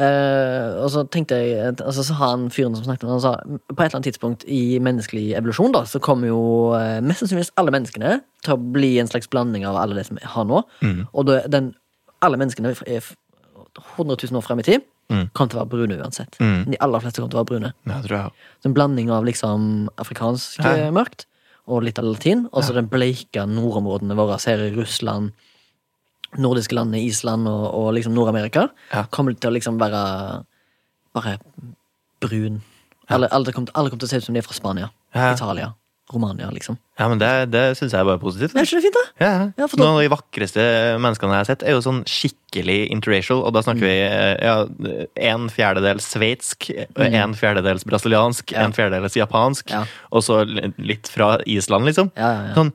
Speaker 1: Eh, og så tenkte jeg at- altså, Så han fyren som snakket med han sa på et eller annet tidspunkt i menneskelig evolusjon da, så kommer jo eh, mest sannsynligvis alle menneskene til å bli en slags blanding av alle det som vi har nå.
Speaker 2: Mm.
Speaker 1: Og da, den, alle menneskene er f- 100 000 år frem i tid
Speaker 2: Mm.
Speaker 1: kommer til å være brune uansett.
Speaker 2: Mm.
Speaker 1: De aller fleste kommer til å være brune.
Speaker 2: Ja, tror jeg.
Speaker 1: Så En blanding av liksom afrikansk
Speaker 2: Ja.
Speaker 1: eh, mørkt og litt av latin. Og så den bleika nordområdene våre her i Russland, nordiske landene, Island og, og liksom Nord-Amerika.
Speaker 2: Ja.
Speaker 1: Kommer til å liksom være bare brun. Alle, alle, kommer, til- alle kommer til å se ut som de er fra Spania,
Speaker 2: Ja.
Speaker 1: Italia, Romania, liksom.
Speaker 2: Ja, men det, det syns jeg er bare positivt.
Speaker 1: Er ikke det fint, da?
Speaker 2: Ja, ja.
Speaker 1: Ja, for da-
Speaker 2: Noen av de vakreste menneskene jeg har sett, er jo sånn skikkelig interracial. Og da snakker
Speaker 1: Mm.
Speaker 2: vi eh, ja, en fjerdedel sveitsk, og en fjerdedels
Speaker 1: Mm.
Speaker 2: brasiliansk,
Speaker 1: Ja.
Speaker 2: en fjerdedels japansk,
Speaker 1: Ja.
Speaker 2: og så l- litt fra Island, liksom.
Speaker 1: Ja, ja, ja.
Speaker 2: Sånn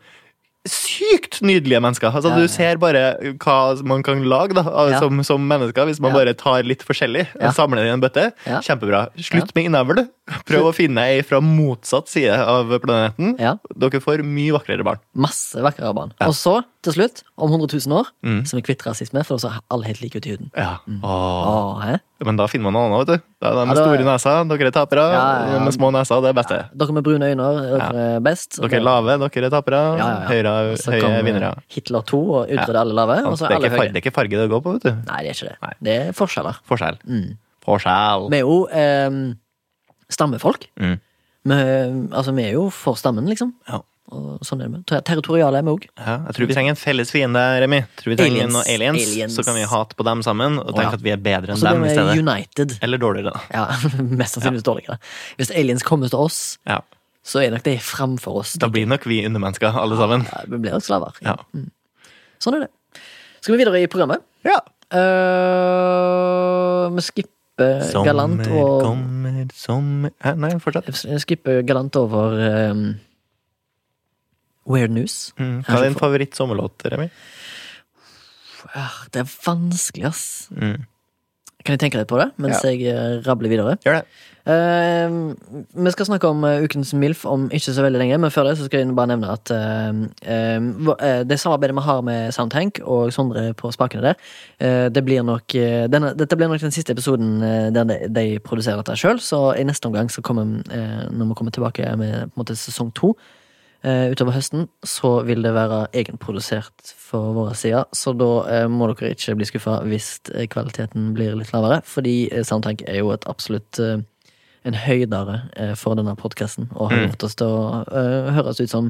Speaker 2: sykt nydelige mennesker. Altså,
Speaker 1: Ja, ja.
Speaker 2: Du ser bare hva man kan lage da, av-
Speaker 1: Ja.
Speaker 2: som, som mennesker, hvis man
Speaker 1: Ja.
Speaker 2: bare tar litt forskjellig og
Speaker 1: Ja.
Speaker 2: samler det i en bøtte.
Speaker 1: Ja.
Speaker 2: Kjempebra. Slutt med innavl. Prøv å finne ei fra motsatt side av planeten.
Speaker 1: Ja.
Speaker 2: Dere får mye vakrere barn.
Speaker 1: Masse vakrere barn.
Speaker 2: Ja.
Speaker 1: Og så, til slutt, om 100 000 år,
Speaker 2: Mm.
Speaker 1: så er vi kvitt rasisme, for da ser alle helt like ut i huden.
Speaker 2: Ja. Åh.
Speaker 1: Åh, hæ?
Speaker 2: Men da finner man noe annet, vet du. Da er de med
Speaker 1: Ja, da-
Speaker 2: store nesa, dere er tapere.
Speaker 1: Ja, ja, ja.
Speaker 2: De Med små nesa, det er beste.
Speaker 1: Dere med brune øyne, dere er best.
Speaker 2: Dere er lave, dere er tapere.
Speaker 1: Ja, ja, ja.
Speaker 2: Høyre,
Speaker 1: Så
Speaker 2: høye
Speaker 1: kom
Speaker 2: vinnere.
Speaker 1: Hitler 2 og utrydde alle lave, og så
Speaker 2: Altså, det,
Speaker 1: er
Speaker 2: er
Speaker 1: alle
Speaker 2: ikke farge,
Speaker 1: høye.
Speaker 2: det er ikke farge det går på, vet du.
Speaker 1: Nei, det er ikke det.
Speaker 2: Nei.
Speaker 1: Det er forskjeller.
Speaker 2: Forskjell.
Speaker 1: Mm.
Speaker 2: Forskjell.
Speaker 1: Vi er jo ehm, stammefolk.
Speaker 2: Mm.
Speaker 1: Vi, altså, vi er jo for stammen, liksom.
Speaker 2: Ja.
Speaker 1: Og sånn er det. med- Ter- Territoriale er vi òg.
Speaker 2: Ja, jeg tror vi trenger en felles fiende, Remi. Tror vi trenger
Speaker 1: Aliens.
Speaker 2: noen aliens,
Speaker 1: Aliens.
Speaker 2: Så kan vi hate på dem sammen og
Speaker 1: Å, ja.
Speaker 2: tenke at vi er bedre
Speaker 1: Og
Speaker 2: enn
Speaker 1: så
Speaker 2: dem i
Speaker 1: blir
Speaker 2: stedet.
Speaker 1: vi United.
Speaker 2: Eller dårligere, da.
Speaker 1: Ja, Mest sannsynligvis dårligere. Hvis aliens kommer til oss,
Speaker 2: Ja.
Speaker 1: så er nok de framfor oss.
Speaker 2: Da blir nok vi undermennesker, alle sammen.
Speaker 1: Ja, Mm. Vi blir nok slaver.
Speaker 2: Ja.
Speaker 1: Sånn er det. Skal vi videre i programmet?
Speaker 2: ja.
Speaker 1: Eh, vi skipper galant
Speaker 2: Sommer
Speaker 1: og
Speaker 2: kommer, sommer Hæ, Nei, fortsett.
Speaker 1: Jeg skipper galant over ehm, Weird News.
Speaker 2: Mm. Hva er din favoritt-sommerlåt, Remi?
Speaker 1: Ah, Det er vanskelig, ass.
Speaker 2: Mm.
Speaker 1: Kan jeg tenke litt på det mens
Speaker 2: Ja.
Speaker 1: jeg eh, rabler videre?
Speaker 2: Gjør det.
Speaker 1: Ehm, vi skal snakke om eh, ukens MILF om ikke så veldig lenge, men før det så skal jeg bare nevne at ehm, ehm, hva- eh, det samarbeidet vi har med Soundtank og Sondre på spakene der, eh, det blir nok, eh, denne, dette blir nok den siste episoden eh, der de, de produserer dette sjøl, så i neste omgang, så kommer, eh, når vi kommer tilbake med på en måte sesong to, eh, utover høsten, så vil det være egenprodusert for våre sider. Så da eh, må dere ikke bli skuffa hvis eh, kvaliteten blir litt lavere, fordi eh, Soundtank er jo et absolutt eh, en høydere eh, for denne podkasten, og har
Speaker 2: Mm.
Speaker 1: gjort oss til å eh, høres ut som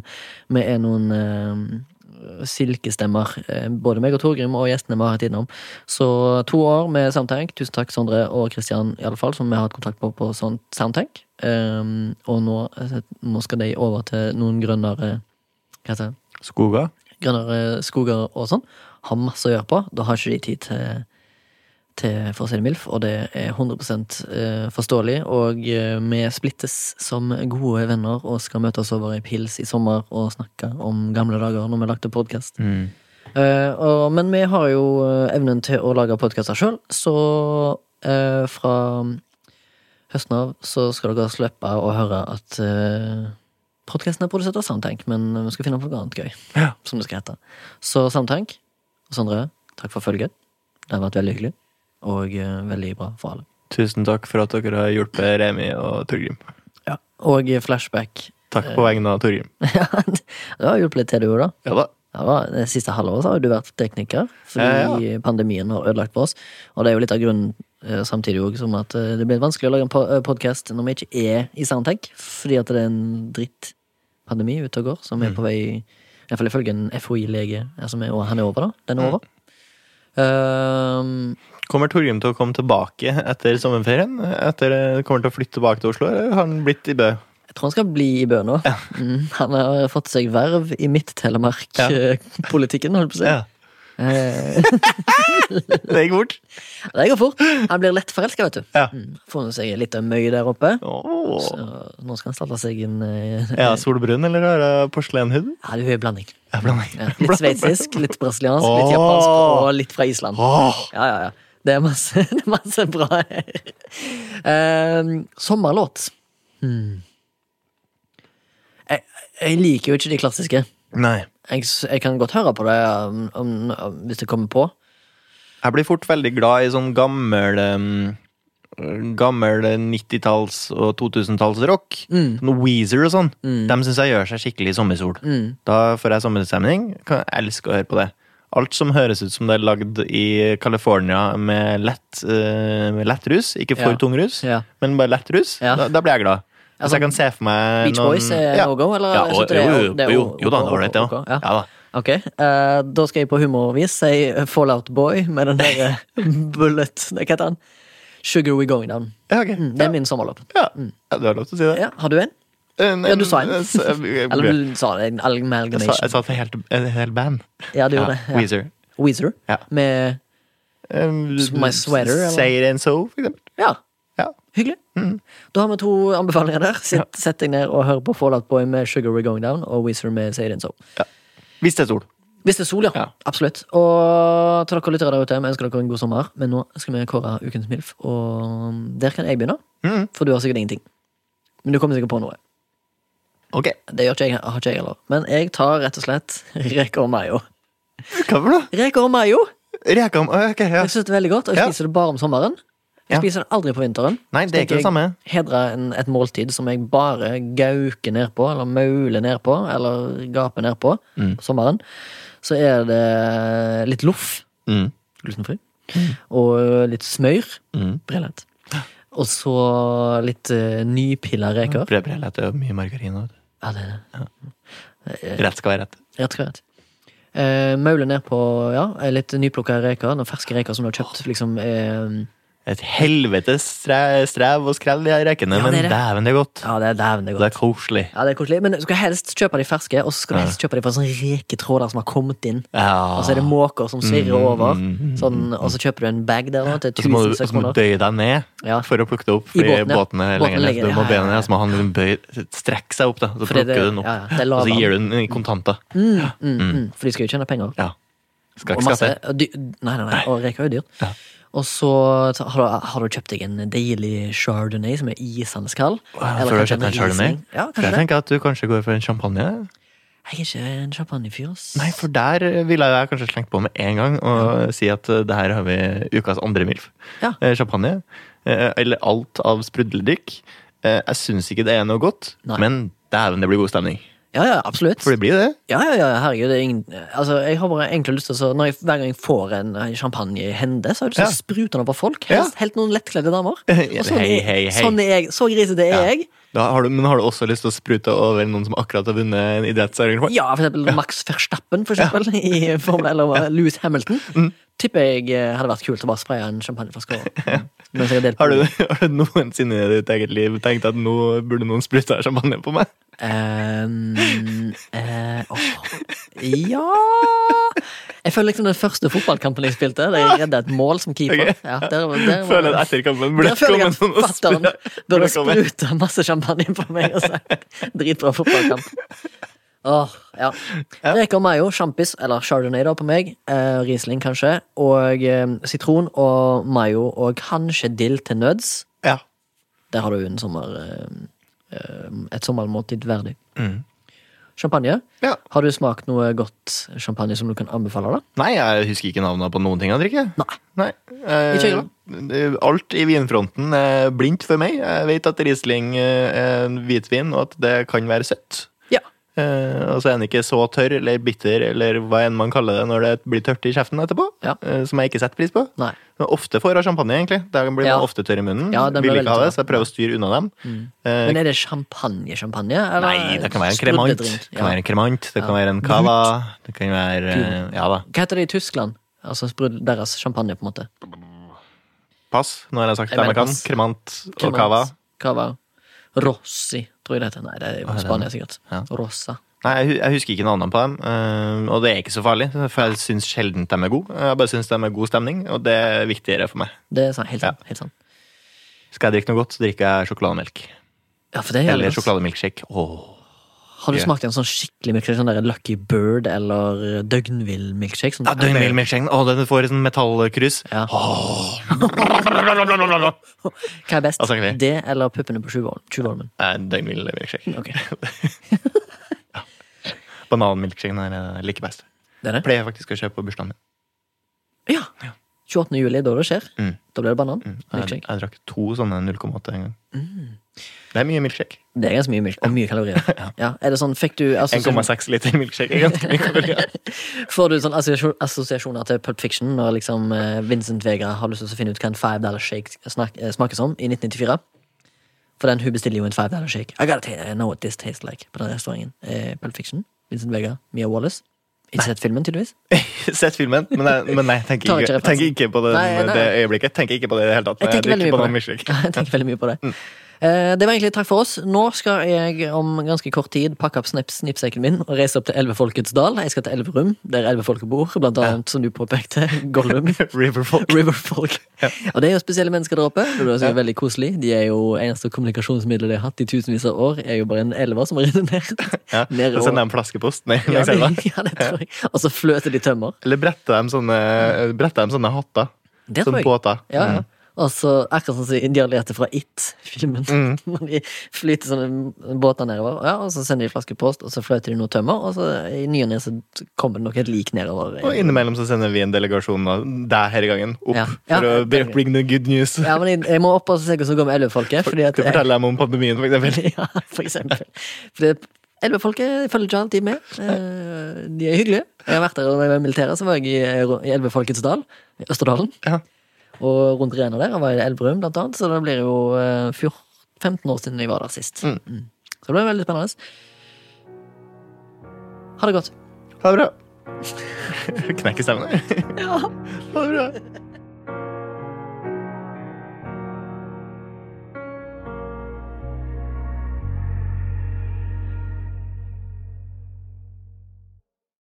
Speaker 1: vi er noen eh, silkestemmer, eh, både meg og Torgrim og gjestene vi har hatt innom. Så to år med Soundtank. Tusen takk, Sondre og Kristian, i alle fall, som vi har hatt kontakt på på sånt Soundtank. Um, og nå, nå skal de over til noen grønnere Hva heter det?
Speaker 2: Skoga?
Speaker 1: Grønnere skoger og sånn. Har masse å gjøre på. Da har ikke de tid til, til for å si det MILF, og det er 100 eh, forståelig. Og eh, vi splittes som gode venner og skal møtes over ei pils i sommer og snakke om gamle dager når vi lagde podkast.
Speaker 2: Mm.
Speaker 1: Eh, og, men vi har jo eh, evnen til å lage podkaster sjøl, så eh, fra høsten av så skal dere slippe å høre at uh, podkasten er produsert av Soundtank, men vi skal finne på noe annet gøy.
Speaker 2: Ja.
Speaker 1: Som det skal hete. Så Soundtank og Sondre, takk for følget. Det har vært veldig hyggelig, og eh, veldig bra for alle.
Speaker 2: Tusen takk for at dere har hjulpet Remi og Torgrim.
Speaker 1: Og eh, flashback.
Speaker 2: Takk
Speaker 1: Eh.
Speaker 2: på vegne av Torgrim.
Speaker 1: Ja, det har hjulpet litt til, du òg, da.
Speaker 2: Ja da.
Speaker 1: Ja, da, Det siste halvåret så har jo du vært tekniker, fordi
Speaker 2: Ja,
Speaker 1: pandemien har ødelagt for oss. Og det er jo litt av grunnen eh, samtidig òg som at eh, det blir vanskelig å lage en podkast når vi ikke er i Soundtank, fordi at det er en drittpandemi ute og går, som
Speaker 2: Mm.
Speaker 1: er på vei Iallfall ifølge en FHI-lege. Altså, vi er- han er over, da. Den
Speaker 2: Mm.
Speaker 1: er over. Ehm,
Speaker 2: Kommer Torgrim til å komme tilbake etter sommerferien? Etter, eh, kommer han til å flytte tilbake til Oslo, eller har han blitt i Bø?
Speaker 1: jeg tror han skal bli i Bø nå. Mm, han har fått seg verv i Midt-Telemark-politikken, eh, holdt på å si.
Speaker 2: Ja.
Speaker 1: Eh,
Speaker 2: Det gikk fort.
Speaker 1: det går fort. Han blir lett forelska, vet du.
Speaker 2: Ja.
Speaker 1: Mm, Funnet seg litt av møy der oppe.
Speaker 2: Åh.
Speaker 1: Så nå skal han starte seg en eh,
Speaker 2: Ja, solbrun eller er det porselenhud?
Speaker 1: Ja, det er jo en blanding.
Speaker 2: Ja, blanding.
Speaker 1: Ja, litt sveitsisk, litt brasiliansk, litt
Speaker 2: Åh.
Speaker 1: japansk og litt fra Island.
Speaker 2: Åh.
Speaker 1: Ja, ja, ja. Det er masse, det er masse bra her. Ehm, sommerlåt. Hmm. Jeg, jeg liker jo ikke de klassiske.
Speaker 2: Nei.
Speaker 1: Jeg, s- jeg kan godt høre på det um, om, om, hvis det kommer på.
Speaker 2: Jeg blir fort veldig glad i sånn gammel um, Gammel 90-talls- og 2000-tallsrock.
Speaker 1: Mm.
Speaker 2: Sånn Weezer og sånn. De syns jeg gjør seg skikkelig sommersol.
Speaker 1: Mm.
Speaker 2: Da får jeg sommerstemning. Kan jeg elsker å høre på det. Alt som høres ut som det er lagd i California med lett, eh, med lett rus, ikke for
Speaker 1: Ja.
Speaker 2: tung rus,
Speaker 1: Ja.
Speaker 2: men bare lett rus,
Speaker 1: Ja.
Speaker 2: da, da blir jeg glad.
Speaker 1: Ja,
Speaker 2: Hvis jeg
Speaker 1: sånn
Speaker 2: kan se for meg
Speaker 1: Beach Boys er
Speaker 2: ja.
Speaker 1: no-go, eller?
Speaker 2: Ja,
Speaker 1: Jeg
Speaker 2: og,
Speaker 1: synes det
Speaker 2: jo,
Speaker 1: er-
Speaker 2: jo,
Speaker 1: det er
Speaker 2: jo,
Speaker 1: ok-
Speaker 2: jo da, det var ålreit, det
Speaker 1: ok,
Speaker 2: òg.
Speaker 1: ja.
Speaker 2: Ja da.
Speaker 1: Ok, eh, da skal jeg på humorvis si Fallout Boy med den der eh, Bullet Hva heter han? Sugar We Going Down.
Speaker 2: Ja, ok.
Speaker 1: Mm, Det er min sommerlåp.
Speaker 2: Ja. ja, du har lov til å si det. Eh,
Speaker 1: Ja, har du en?
Speaker 2: En-
Speaker 1: Ja, du
Speaker 2: en-
Speaker 1: sa en.
Speaker 2: en- s-
Speaker 1: Eller du sa det, en
Speaker 2: eh, Jeg sa, jeg
Speaker 1: amalgamation.
Speaker 2: sa et helt, et helt band.
Speaker 1: Ja, du gjorde det. Ja.
Speaker 2: Weezer.
Speaker 1: Weezer.
Speaker 2: Ja.
Speaker 1: Med
Speaker 2: Um,
Speaker 1: My Sweater, eller?
Speaker 2: Say It and So, for eksempel.
Speaker 1: Ja,
Speaker 2: Ja.
Speaker 1: hyggelig.
Speaker 2: Mm.
Speaker 1: Da har vi to anbefalinger der. Sitt, Sett deg ned og hør på Fallout Boy med Sugar We're Going Down og Weezer med Say It In So.
Speaker 2: Hvis det er sol.
Speaker 1: Hvis det er sol, ja.
Speaker 2: Ja.
Speaker 1: Absolutt. Og til dere lyttere der ute, vi ønsker dere en god sommer. Men nå skal vi kåre ukens MILF, og der kan jeg begynne.
Speaker 2: Mhm.
Speaker 1: For du har sikkert ingenting. Men du kommer sikkert på noe.
Speaker 2: Ok.
Speaker 1: Det gjør ikke jeg, har ikke jeg heller. Men jeg tar rett og slett reker og mayo.
Speaker 2: Hva for noe?
Speaker 1: Reker og mayo!
Speaker 2: Reka om Ok, ja.
Speaker 1: Jeg synes det er veldig godt, og jeg
Speaker 2: Ja.
Speaker 1: spiser det bare om sommeren. Jeg
Speaker 2: Ja.
Speaker 1: spiser det aldri på vinteren.
Speaker 2: Nei, det er ikke det samme.
Speaker 1: Hedre en, et måltid som jeg bare gauker ned på, eller mauler ned på, eller gaper ned på
Speaker 2: Mm.
Speaker 1: på sommeren. Så er det litt loff,
Speaker 2: Mm.
Speaker 1: glutenfri, Mm. og øh, litt smør.
Speaker 2: Mm.
Speaker 1: Briljant. Og så litt uh, nypilla reker.
Speaker 2: Prøver heller at det er mye margarin. og-
Speaker 1: Ja, det er det.
Speaker 2: Rett skal være rett.
Speaker 1: Rett og slett. Eh, maule ned på ja, litt nyplukka reker. Noen ferske reker som du har kjøpt. liksom eh,
Speaker 2: Et helvetes stre- strev og skrell i de rekene,
Speaker 1: Ja,
Speaker 2: men
Speaker 1: det er det.
Speaker 2: dæven, det er godt.
Speaker 1: Ja, det er dæven det er godt.
Speaker 2: Det er koselig.
Speaker 1: Ja, det er koselig, men du skal helst kjøpe de ferske, og så skal du helst kjøpe de fra sånne reketråder som har kommet inn.
Speaker 2: Ja.
Speaker 1: Og så er det måker som svirrer
Speaker 2: Ah. Mm,
Speaker 1: over,
Speaker 2: mm, mm,
Speaker 1: sånn, og så kjøper du en bag der nå, til
Speaker 2: Og så må
Speaker 1: 1000
Speaker 2: du, og så må du
Speaker 1: kroner.
Speaker 2: bøye deg ned
Speaker 1: Ja.
Speaker 2: for å plukke det opp.
Speaker 1: I
Speaker 2: Fordi
Speaker 1: båten, ja.
Speaker 2: båten er
Speaker 1: Båten
Speaker 2: lenger ned,
Speaker 1: ligger-
Speaker 2: så du
Speaker 1: ja,
Speaker 2: må bøye
Speaker 1: ja,
Speaker 2: deg
Speaker 1: ja.
Speaker 2: ned. Så må han liksom bøye, strekke seg opp, da. Så
Speaker 1: Fordi det-
Speaker 2: plukker du den opp.
Speaker 1: ja, ja, det er
Speaker 2: og så
Speaker 1: lavvann.
Speaker 2: gir du den i kontanter.
Speaker 1: Mm, mm, mm, for de skal jo tjene penger.
Speaker 2: Ja. Skal
Speaker 1: Og
Speaker 2: ikke
Speaker 1: masse,
Speaker 2: skatte.
Speaker 1: og dy, nei, nei, nei, og reker er jo dyrt.
Speaker 2: Ja.
Speaker 1: Og så ta- har du, har du kjøpt deg en deilig chardonnay som er isende kald.
Speaker 2: Wow,
Speaker 1: eller
Speaker 2: Før du har
Speaker 1: kanskje
Speaker 2: kjøpt en chardonnay?
Speaker 1: Riesling. Ja,
Speaker 2: For jeg
Speaker 1: kanskje det.
Speaker 2: tenker at du kanskje går for en champagne.
Speaker 1: Jeg er ikke eh, en champagnefyr, ass.
Speaker 2: Nei, for der eh, ville jeg kanskje slengt på med en gang og si at eh, det her har vi ukas andre MILF.
Speaker 1: Ja.
Speaker 2: Eh, Champagne. eh, Eller alt av sprudledrikk. Eh, Jeg syns ikke det er noe godt,
Speaker 1: Nei.
Speaker 2: men dæven, det blir god stemning.
Speaker 1: Ja, ja, absolutt.
Speaker 2: For det blir det.
Speaker 1: Ja, ja, ja, herregud, det er ingen Altså, jeg har bare egentlig lyst til å så når jeg, Hver gang jeg får en eh, champagne i hende, så har jeg lyst til å
Speaker 2: Ja.
Speaker 1: sprute den opp av folk. Helst, helt noen lettkledde damer.
Speaker 2: Ja,
Speaker 1: Og sånn,
Speaker 2: hei, hei, hei.
Speaker 1: sånn er jeg. Så grisete er
Speaker 2: Ja.
Speaker 1: jeg.
Speaker 2: Da har du, men har du også lyst til å sprute over noen som akkurat har vunnet en idrettsarrangement?
Speaker 1: Ja, for eksempel Max Verstappen, for eksempel, i Formel eller Louis Hamilton.
Speaker 2: Mm.
Speaker 1: Tipper jeg eh, hadde vært kult å bare spraye en champagneflaske over. Mens jeg har delt på
Speaker 2: Har du, har du noensinne i ditt eget liv tenkt at nå burde noen sprute champagne på meg?
Speaker 1: Ehm, eh, åh. Ja Jeg føler liksom den første fotballkampen jeg spilte, der jeg redda et mål som keeper.
Speaker 2: Ok.
Speaker 1: Ja, der, var- der, var-
Speaker 2: Føler at etter kampen burde
Speaker 1: Der
Speaker 2: det
Speaker 1: føler jeg
Speaker 2: komme
Speaker 1: at
Speaker 2: noen og
Speaker 1: fatter'n
Speaker 2: sprute.
Speaker 1: burde
Speaker 2: burde komme.
Speaker 1: sprute masse champagne på meg og sagt dritbra fotballkamp. Åh, ja. Reker mayo, sjampis eller chardonnay da på meg. Eh, Riesling kanskje. Og eh, sitron og mayo og kanskje dill til nøds.
Speaker 2: Ja.
Speaker 1: Der har du en sommer eh, eh, et sommermåltid verdig.
Speaker 2: Mm.
Speaker 1: Champagne.
Speaker 2: ja.
Speaker 1: Har du smakt noe godt champagne som du kan anbefale? da?
Speaker 2: Nei, jeg husker ikke navnet på noen ting jeg drikker.
Speaker 1: Nei.
Speaker 2: Nei. Eh,
Speaker 1: Ikke jeg
Speaker 2: eh, alt i vinfronten er blindt for meg. Jeg vet at Riesling eh, er en hvitvin, og at det kan være søtt.
Speaker 1: Ja.
Speaker 2: Eh, og så er den ikke så tørr eller bitter eller hva enn man kaller det når det blir tørt i kjeften etterpå.
Speaker 1: Ja.
Speaker 2: eh, som jeg ikke setter pris på.
Speaker 1: Nei.
Speaker 2: Men Ofte får av champagne, egentlig. Da blir
Speaker 1: Ja.
Speaker 2: man ofte tørr i munnen.
Speaker 1: Ja, den blir
Speaker 2: Vil ikke
Speaker 1: veldig Mm.
Speaker 2: ha det, så jeg prøver å styre unna dem. Eh,
Speaker 1: Men er det champagne-champagne? eller
Speaker 2: nei, det kan være en kremant.
Speaker 1: sprudledrink?
Speaker 2: Det kan være en kremant, det kan være en cava, det kan være eh, Ja da.
Speaker 1: Hva heter det i Tyskland? Altså sprud- deres champagne, på en måte.
Speaker 2: Pass, nå har jeg sagt
Speaker 1: Jeg
Speaker 2: det
Speaker 1: mener
Speaker 2: jeg kan.
Speaker 1: pass.
Speaker 2: Kremant og
Speaker 1: Kremant,
Speaker 2: cava.
Speaker 1: Cava. Rossi, tror jeg det heter. Nei, det er jo Spania, sikkert.
Speaker 2: Ja.
Speaker 1: Rossa.
Speaker 2: Nei, jeg hu- jeg husker ikke navnene på dem, eh, og det er ikke så farlig, for jeg syns sjelden de er gode. Jeg bare syns de er god stemning, og det er viktigere for meg.
Speaker 1: Det er sant, helt sant. Helt sånn. sant.
Speaker 2: Skal jeg drikke noe godt, så drikker jeg sjokolademelk.
Speaker 1: Ja, for det
Speaker 2: Eller
Speaker 1: gjelder. oss.
Speaker 2: sjokolademilkshake. Åh.
Speaker 1: Har du
Speaker 2: Ja.
Speaker 1: smakt en sånn skikkelig milkshake? Sånn der Lucky Bird eller Døgnvill milkshake? Sånn
Speaker 2: Ja, Døgnmilkshake. Å, den får sånn metallkrus.
Speaker 1: Ja.
Speaker 2: Åh.
Speaker 1: Hva er best?
Speaker 2: Hva snakker vi?
Speaker 1: Det eller puppene på Tjuvholmen? Tjuvholmen.
Speaker 2: Nei, Døgnmilkshake.
Speaker 1: Ok,
Speaker 2: Bananmilkshaken er eh, like best.
Speaker 1: det er det.
Speaker 2: Pleier faktisk å kjøpe på bursdagen min.
Speaker 1: Ja. 28. juli, da det skjer.
Speaker 2: Mm.
Speaker 1: Da blir det banan.
Speaker 2: Jeg,
Speaker 1: Milkshake.
Speaker 2: jeg drakk to sånne 0,8 en gang. Mm. Det er mye milkshake.
Speaker 1: Det er ganske mye milk og mye kalorier. Ja, er det sånn, fikk du assosiasjon,
Speaker 2: 1,6 liter milkshake er ganske mye kalorier.
Speaker 1: Får du sånn assosiasjon- assosiasjoner til Pulp Fiction når liksom eh, Vincent Vega har lyst til å finne ut hva en five dollar shake snak, eh, smaker som i 1994? For den, hun bestiller jo en five dollar shake. I gotta ta- know what this tastes like på den restauranten. Eh, Pulp Fiction, Vincent Vega, Mia Wallace. Ikke sett filmen, tydeligvis.
Speaker 2: Sett filmen, men, jeg, men nei, tenker
Speaker 1: Tar ikke
Speaker 2: ikke,
Speaker 1: referansen.
Speaker 2: tenker ikke på det,
Speaker 1: Nei, nei.
Speaker 2: det øyeblikket. Tenker ikke på det i det hele tatt.
Speaker 1: Jeg tenker veldig mye på det.
Speaker 2: på
Speaker 1: Ja, jeg tenker veldig mye på det. Eh, det var egentlig takk for oss. Nå skal jeg om ganske kort tid pakke opp snips, snipsekken min og reise opp til Elvefolkets dal. Jeg skal til Elverum, der elvefolket bor, blant annet, som du påpekte, Gollum.
Speaker 2: Riverfolk.
Speaker 1: Riverfolk. Og det er jo spesielle mennesker der oppe. Det er også veldig koselig. De er jo eneste kommunikasjonsmiddelet de har hatt i tusenvis av år, er jo bare en elver som renner ned.
Speaker 2: Ja.
Speaker 1: Ned
Speaker 2: Så
Speaker 1: og-
Speaker 2: sender de flaskepost ned
Speaker 1: Ja,
Speaker 2: langs
Speaker 1: det,
Speaker 2: elva.
Speaker 1: ja, det tror jeg. Og så fløter de tømmer.
Speaker 2: Eller bretter de sånne, bretter de sånne hatter.
Speaker 1: Det tror
Speaker 2: sånne
Speaker 1: jeg.
Speaker 2: båter.
Speaker 1: Ja, ja.
Speaker 2: Mm.
Speaker 1: Og så akkurat sånn som indialerte fra It-filmen.
Speaker 2: Mm.
Speaker 1: Når de flyter sånne båter nedover, ja, og så sender de flaskepost, og så fløter de noe tømmer, og så i ny og ne så kommer det nok et lik nedover.
Speaker 2: Og innimellom så sender vi en delegasjon av deg her i gangen opp
Speaker 1: Ja. Ja.
Speaker 2: for å bring, bring the good news.
Speaker 1: Ja, men jeg, jeg må opp og se hvordan det går med elvefolket. Fordi at
Speaker 2: Til å fortelle dem om pandemien, for eksempel.
Speaker 1: ja, for eksempel. Fordi at elvefolket følger ikke alltid med. Eh, De er hyggelige. Jeg har vært der når jeg var i militæret, så var jeg i, i Elvefolkets dal, i Østerdalen.
Speaker 2: Ja.
Speaker 1: Og rundt Rena der, jeg var i Elverum blant annet, så det blir jo eh, 14, 15 år siden jeg var der sist.
Speaker 2: Mm.
Speaker 1: Mm. Så det ble veldig spennende. Ha det godt.
Speaker 2: Ha det bra. Knekker stemmen.
Speaker 1: Ja.
Speaker 2: Ha det bra.